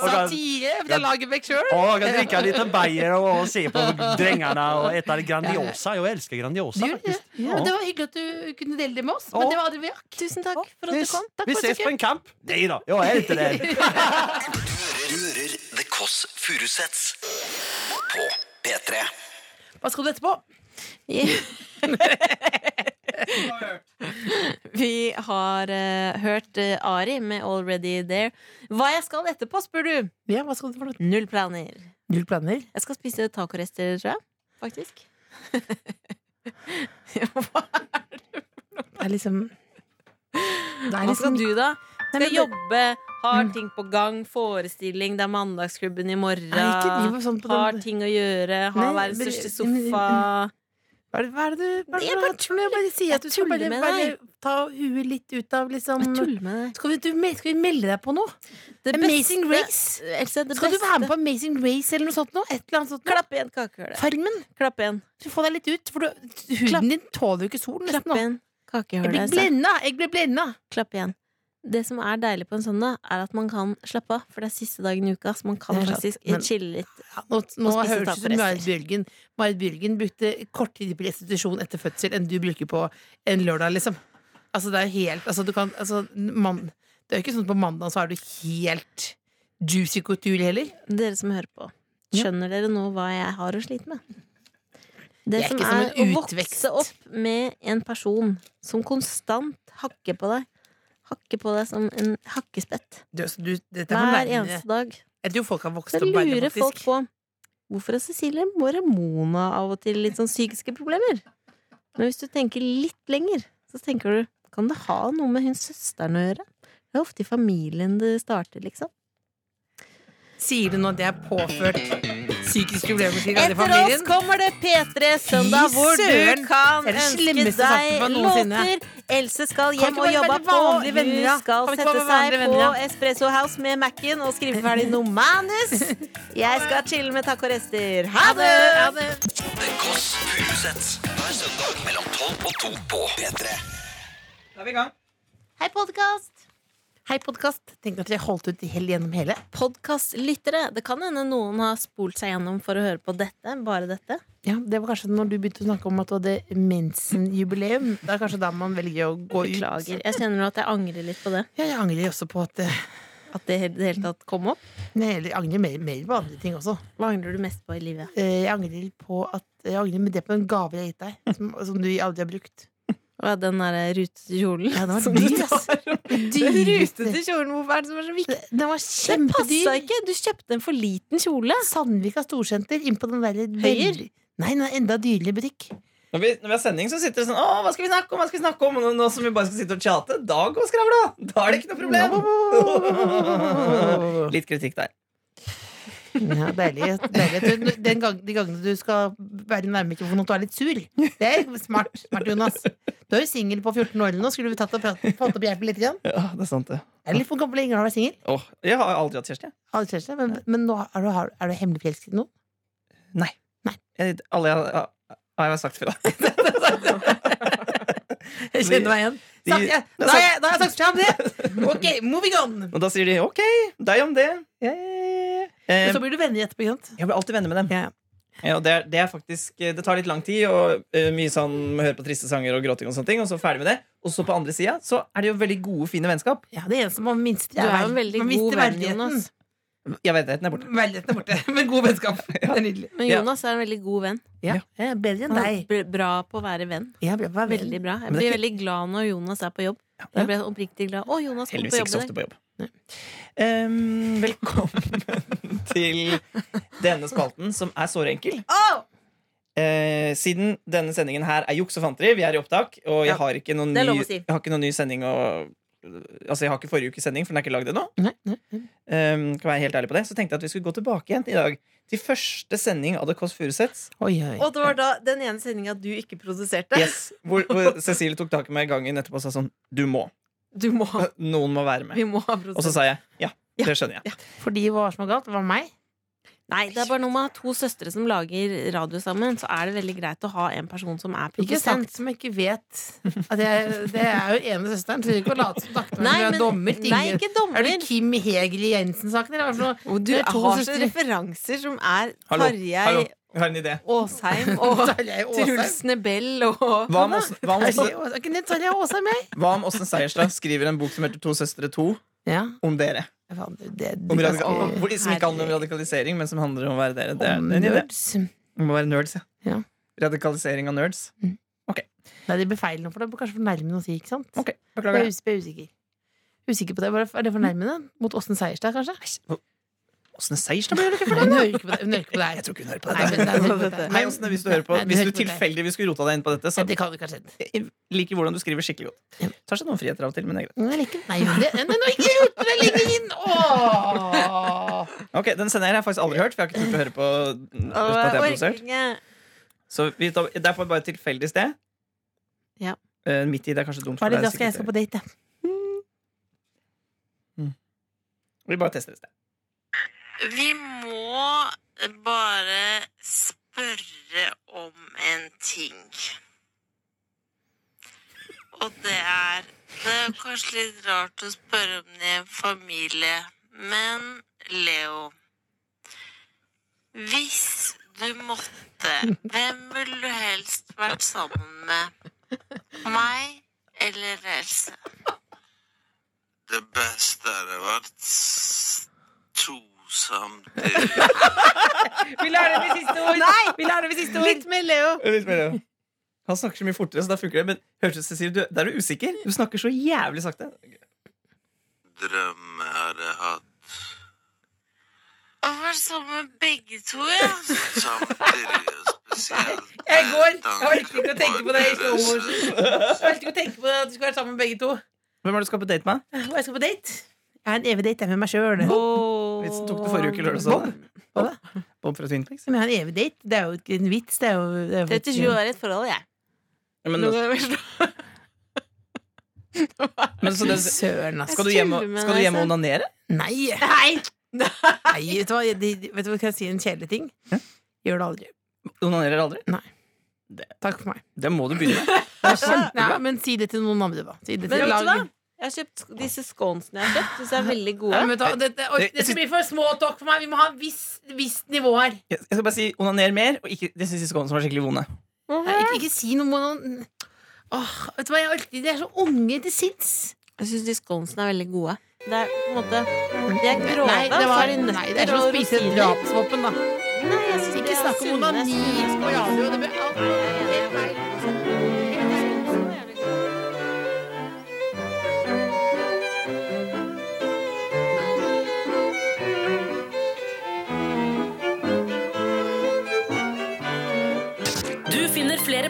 C: [laughs]
H: og da-
C: Satire fra Lagerbäck sjøl!
H: ja, jag kan dricka lite Bayer och se på drängarna och äta Grandiosa. Jag älskar Grandiosa. faktiskt.
C: Ja. men Det var hyggelig at du kunne dele det med oss.
H: Ja.
C: Men det var aldri vi rakk.
B: Tusen takk for
H: Vi,
B: at du kom.
H: vi ses på en kamp! Nej då, jag är inte det.
A: Du hører, du hører The Kåss Furuseths på P3.
C: Hva skal du etterpå?
B: [laughs] Vi har eh, hørt eh, Ari med 'Already There'. Hva jeg skal etterpå, spør du?
C: Ja, hva skal du for noe?
B: Null planer.
C: Null planer.
B: Jeg skal spise tacorester, tror jeg. Faktisk.
C: Det er liksom Det er
B: Hva skal
C: liksom
B: du, da?
C: Nei,
B: Skal
C: men det- Mm.
B: jobbe, har ting på gang, forestilling, det er mandagsklubben i morgen.
C: Nei, ikke driv sånn på den-
B: Har ting å gjøre, ha
C: Nei,
B: verdens
C: men-
B: største sofa.
C: Hva er det, hva er det du hva er det
B: Jeg
C: du
B: bare
C: har for noe? Jeg bare sier at du skal
B: tuller
C: bare,
B: med
C: bare ta huet litt ut av liksom
B: Jeg tuller med deg.
C: skal, vi, du, mel- skal vi melde deg på noe?
B: Det
C: Amazing
B: beste-
C: Race?
B: Else, det
C: Skal du
B: beste.
C: være med på Amazing Race eller noe sånt nå? Et eller annet sånt nå?
B: Klapp igjen kakehullet.
C: Farmen?
B: Klapp igjen.
C: Så Få deg litt ut, for du,
B: Klapp.
C: huden din tåler jo ikke solen. nesten
B: Klapp
C: nå.
B: igjen altså.
C: Jeg blir
B: kakehullet. Else.
C: blenda! Jeg blir blenda!
B: Klapp igjen. Det som er deilig på en søndag, er at man kan slappe av, for det er siste dagen i uka, så man kan
C: Det er sant,
B: faktisk
C: men-
B: chille litt.
C: Ja, nå nå
B: Og spise
C: høres det ut som
B: taperester.
C: Marit Bjørgen. Marit Bjørgen brukte kort tid på restitusjon etter fødsel enn du bruker på en lørdag, liksom. Altså, det er helt Altså, du kan altså, mann- Det er jo ikke sånn at på mandag så er du helt juicy couture heller.
B: Dere som hører på,
C: Ja.
B: skjønner dere nå hva jeg har å slite med? Det
C: Jeg er
B: som
C: ikke som
B: er å
C: en
B: vokse
C: utvekst.
B: opp med en person som konstant hakker på deg. Hakker på deg som en hakkespett
C: Du, altså, du, dette er
B: hver
C: nærmere.
B: eneste dag.
C: Jeg tror folk har vokst
B: Så
C: opp verre,
B: lurer folk
C: faktisk.
B: på hvorfor er Cecilie Hvor er Mona av og til litt sånn psykiske problemer? Men hvis du tenker litt lenger, så tenker du kan det ha noe med hun søsteren å gjøre? Det er ofte i familien det starter, liksom.
C: Sier du nå at det er påført psykiske problemer til alle i
B: Etter oss
C: familien?
B: kommer det P3 Søndag,
C: Fy
B: hvor
C: søren!
B: du kan
C: Det er det
B: ønske
C: slemmeste
B: deg
C: saken på noensinne.
B: låter. Else skal
C: Kan
B: hjem og
C: ikke bare
B: jobbe
C: være
B: på.
C: vanlige
B: Hun
C: venner, da?
B: skal
C: Kan ikke
B: sette
C: bare være
B: seg på
C: vanlige venner, da?
B: Espresso House med Mac-en og skrive ferdig noe
C: [laughs]
B: manus. Jeg skal chille med taco rester. Ha det!
C: Ha det!
A: The Kåss Furuseths. Hver søndag mellom 12 og 2 på P3.
B: Hei, podkast!
C: Hei, podkast. Tenk at dere holdt ut helt gjennom hele.
B: Podkastlyttere. Det kan hende noen har spolt seg gjennom for å høre på dette. Bare dette.
C: Ja, Det var kanskje når du begynte å snakke om at du hadde mensenjubileum. Det er kanskje da man velger å gå ut.
B: Beklager. Jeg kjenner at jeg angrer litt på det.
C: Ja, jeg angrer også på at eh,
B: At det i det hele tatt kom opp.
C: Nei, jeg angrer mer, mer på andre ting også.
B: Hva angrer du mest på i livet?
C: Eh, Jeg angrer på at Jeg angrer med det på den gaven jeg har gitt deg, som, som du aldri har brukt.
B: Hva er den derre rutekjolen?
C: Ja, den var
B: [laughs] som du
C: dyr,
B: tar?
I: altså.
C: ass.
I: [laughs]
C: Dyreste
B: kjolen, hvorfor er det som er så viktig?
C: Den
B: Det
C: var
B: passa
C: kjempedyr!
B: ikke! Du kjøpte en for liten kjole.
C: Sandvika storsenter, inn på den derre
B: Høyer?
C: veldig- Nei, den er enda dyrere butikk.
I: Når vi, når vi har sending, så sitter det sånn Å, hva skal vi snakke om? hva skal vi snakke om? Og nå- nå som vi bare skal sitte og tjate, da går skravla! Da er det ikke noe [laughs] problem! Litt kritikk der.
C: Ja, deilig. deilig. Du, du- Den gang, de gangene du skal være nærme mikrofonen og du er litt sur. Det er smart, smart Jonas. Du er jo singel på 14 år eller noe. Skulle vi tatt og prat, fått opp hjelpen litt? Igjen?
I: Ja, det er sant, det.
C: Er det litt for gammel lenge å være singel?
I: Åh, jeg har aldri hatt kjæreste. jeg.
C: Aldri kjæreste, Men, men nå er du, har- er du hemmelig forelsket i noen?
I: Jeg, alle jeg har, har jeg sagt fra.
C: Jeg
I: kjenner
C: meg igjen.
I: De-
C: Sagt, ja. Da har jeg, da har jeg sagt fra om det! Ok, moving on!
I: Og da sier de OK, deg om det. Yeah.
C: Og
I: Eh,
C: så blir du venner etterpå, ikke sant?
I: jeg blir alltid venner med dem.
C: Ja.
I: Ja, og det, er, det er faktisk eh, Det tar litt lang tid, og eh, mye sånn må høre på triste sanger og gråting, og sånne ting Og så ferdig med det. Og så på andre sida så er det jo veldig gode, fine vennskap.
C: Ja, det er en som man minster
B: Du er jo en veldig
C: man
B: god
C: mister
B: venn,
C: verdigheten.
B: Jonas.
I: Jeg vet det, den er borte.
C: Verdigheten er borte, men god vennskap. Det er nydelig.
B: Men
I: Ja.
B: Jonas er en veldig god venn.
C: Ja. Jeg er bedre enn
B: Han er
C: deg.
B: br- bra på å være venn.
C: Jeg ble bare veldig
B: Veldig bra. Jeg
I: Men det
B: blir
I: er
B: veldig glad når Jonas er på jobb. Da blir jeg oppriktig glad. Å, Jonas kom
I: Heldigvis
B: på
I: ikke så
B: jobb i
I: ofte
B: dag.
I: på jobb. Em, velkommen [laughs] til denne spalten, som er såre enkel. Eh, siden denne sendingen her er juks og fanteri, vi er i opptak, og jeg
B: Ja,
I: har ikke noen
B: det er
I: ny,
B: lov å si.
I: jeg har ikke noen ny sending å Altså, jeg har ikke forrige ukes sending, for den er ikke lagd ennå.
C: Nei, nei.
I: Um, kan være helt ærlig på det Så tenkte jeg at vi skulle gå tilbake igjen i dag til første sending av The Kåss Furuseths.
C: Oi, oi.
B: Og det var da den ene sendinga du ikke produserte.
I: Yes, hvor, hvor Cecilie tok tak i meg i gangen etterpå og sa sånn Du må.
B: Du må ha,
I: Noen må
C: [laughs]
I: være
B: vi
I: med.
B: må ha
I: Og så
B: produsert.
I: sa jeg ja. Det skjønner jeg.
C: Fordi hva som var galt, var meg.
B: Nei, det er bare noe med å ha to søstre som lager radio sammen, så er det veldig greit å ha en person som er
C: Ikke
B: produsent.
C: sagt som jeg ikke vet. At jeg, det er jo ene søsteren. Trenger ikke å late som takte
B: Nei,
C: meg. Du
B: men-
C: er dommer. Tingre.
B: Nei, ikke dommer.
C: Er det Kim Hegeli Jensen-saken? Eller hva for noe?
B: Og Du
C: Det er to
B: har så
C: søstre.
B: referanser som er
I: Hallo, hallo.
B: Tarjei
I: Jeg har en idé. [laughs]
B: Åsheim og
C: Tarjei Aasheim.
B: Truls Nebel og
I: Hva om Åsne- hva om
C: Tarjei
I: Åsne-
C: Aas- Er ikke det Tarjei Aasheim, jeg?
I: hva om Åsne Seierstad skriver en bok som heter To søstre to?
C: Ja.
I: Om dere.
C: Faen, det, det,
I: Om
C: det,
I: radikal-
B: Å,
I: hvor- som ikke handler om
B: herregud.
I: radikalisering, men som handler om å være dere. Det er
C: om
I: en idé.
C: nerds.
I: Vi må være nerds, ja.
C: Ja. Mm.
I: Radikalisering av nerds.
C: Nei, det blir feil nå, for det blir kanskje fornærmende å si, ikke sant?
I: Ok,
C: Jeg er
I: Beklager.
C: us- jeg er usikker. Usikker på det. Hva er det- Er det fornærmende? Mot Åsten Seierstad, kanskje?
I: Åsne Seierstad blir det ikke for
C: Hun hører ikke på deg. Hun hører ikke på
I: Nei,
C: deg.
I: jeg tror ikke hun hører på
C: Nei,
I: dette.
C: men- nei, hun hører ikke på deg.
I: Hei, Åsne, hvis du hører på
C: Nei, hun
I: Hvis
C: hører
I: du
C: ikke på deg.
I: tilfeldigvis skulle rota deg inn på dette, så
C: Nei, Det kan du ikke ha skjedd.
I: jeg liker hvordan du skriver skikkelig godt. Tar seg noen friheter av og til, men det er greit.
C: Nei, ikke, nei, det, nei, nå ikke rote det lenger inn! Åh!
I: Ok, Den senderen har jeg faktisk aldri hørt, for jeg har ikke turt å høre på den uten at jeg er produsert. Så vi tar, Det er på et bare tilfeldig sted.
B: Ja.
I: Eh, midt i det er kanskje dumt.
C: Hva er det,
I: for
C: da
I: deg,
C: skal jeg skal
I: sikkert.
C: på date, da.
I: Vi bare tester et sted.
B: Vi må bare spørre om en ting. Og det er Det er kanskje litt rart å spørre om det i en familie, men Leo Hvis du måtte, hvem ville du helst vært sammen med? Meg eller Else?
J: Det beste hadde vært s- to samtidig.
E: Vi lærer det ved siste ord! Vi lærer det ved siste ord! Litt mer Leo.
I: Litt mer, ja. Han snakker så mye fortere, så da funker det. Men hørte du, Cecilie, du, der er du usikker. Du snakker så jævlig sakte.
J: Drømme hadde hatt
B: Å være sammen med begge to, ja.
J: samtidig og spesielt.
C: Jeg går.
J: med
C: Jeg orker ikke å
J: tanke
C: tenke på det. Jeg er ikke
J: deres-
C: homo. Jeg orker ikke å tenke på at du skal være sammen med begge to.
I: Hvem er det du skal på date med?
C: Og jeg skal på date. Jeg er en evig date jeg, med meg sjøl.
I: Vitsen tok du forrige uke lørdag.
C: Bob.
I: Bob.
C: Hva da?
I: Bob fra Twin Peaks.
C: Som jeg har en evig date. Det er jo ikke en vits. Det er jo, det er jo
B: 37 år i et forhold, jeg.
I: Ja, Men,
B: Nå kan jeg forstå.
I: men så det,
C: Søren, ass.
I: skal, du hjem og,
B: tuller med
I: skal du
B: deg
I: hjem og
B: selv.
I: onanere?
C: Nei! Nei. vet, du hva? De, de- vet du hva, kan jeg si en kjedelig ting? Gjør det aldri.
I: Onanerer aldri?
C: Takk for meg.
I: Det må du begynne med. Det
C: Nei,
I: er kjempebra.
C: men si det til noen andre, da. Si det
B: Men
C: til
B: vet du hva?
C: lag-
B: Jeg har kjøpt disse skånsene jeg har kjøpt. Syns jeg er veldig
C: Ja,
B: gode.
C: men vet du hva, det, det, oi, det skal bli for små talk for meg. Vi må ha et visst visst nivå her.
I: Jeg jeg skal bare si onaner mer, og ikke de siste skånene som var skikkelig vonde.
C: Nei, ikke, ikke si noe om noen Åh, vet du hva, jeg orker De er så unge til sinns.
B: Jeg syns de skånsene er veldig gode. Det er på en måte De er grove,
C: Nei, det,
B: så
C: var,
B: er de
C: nei, det er
B: nøtter
C: som å
B: og
C: spise et
B: rosiner.
C: drapsvåpen, da.
B: Nei, jeg synes de
C: Ikke
B: er
C: snakk om
B: sunne,
C: onani
B: sunne,
C: på radio. Det blir alt helt feil.
D: Du finner flere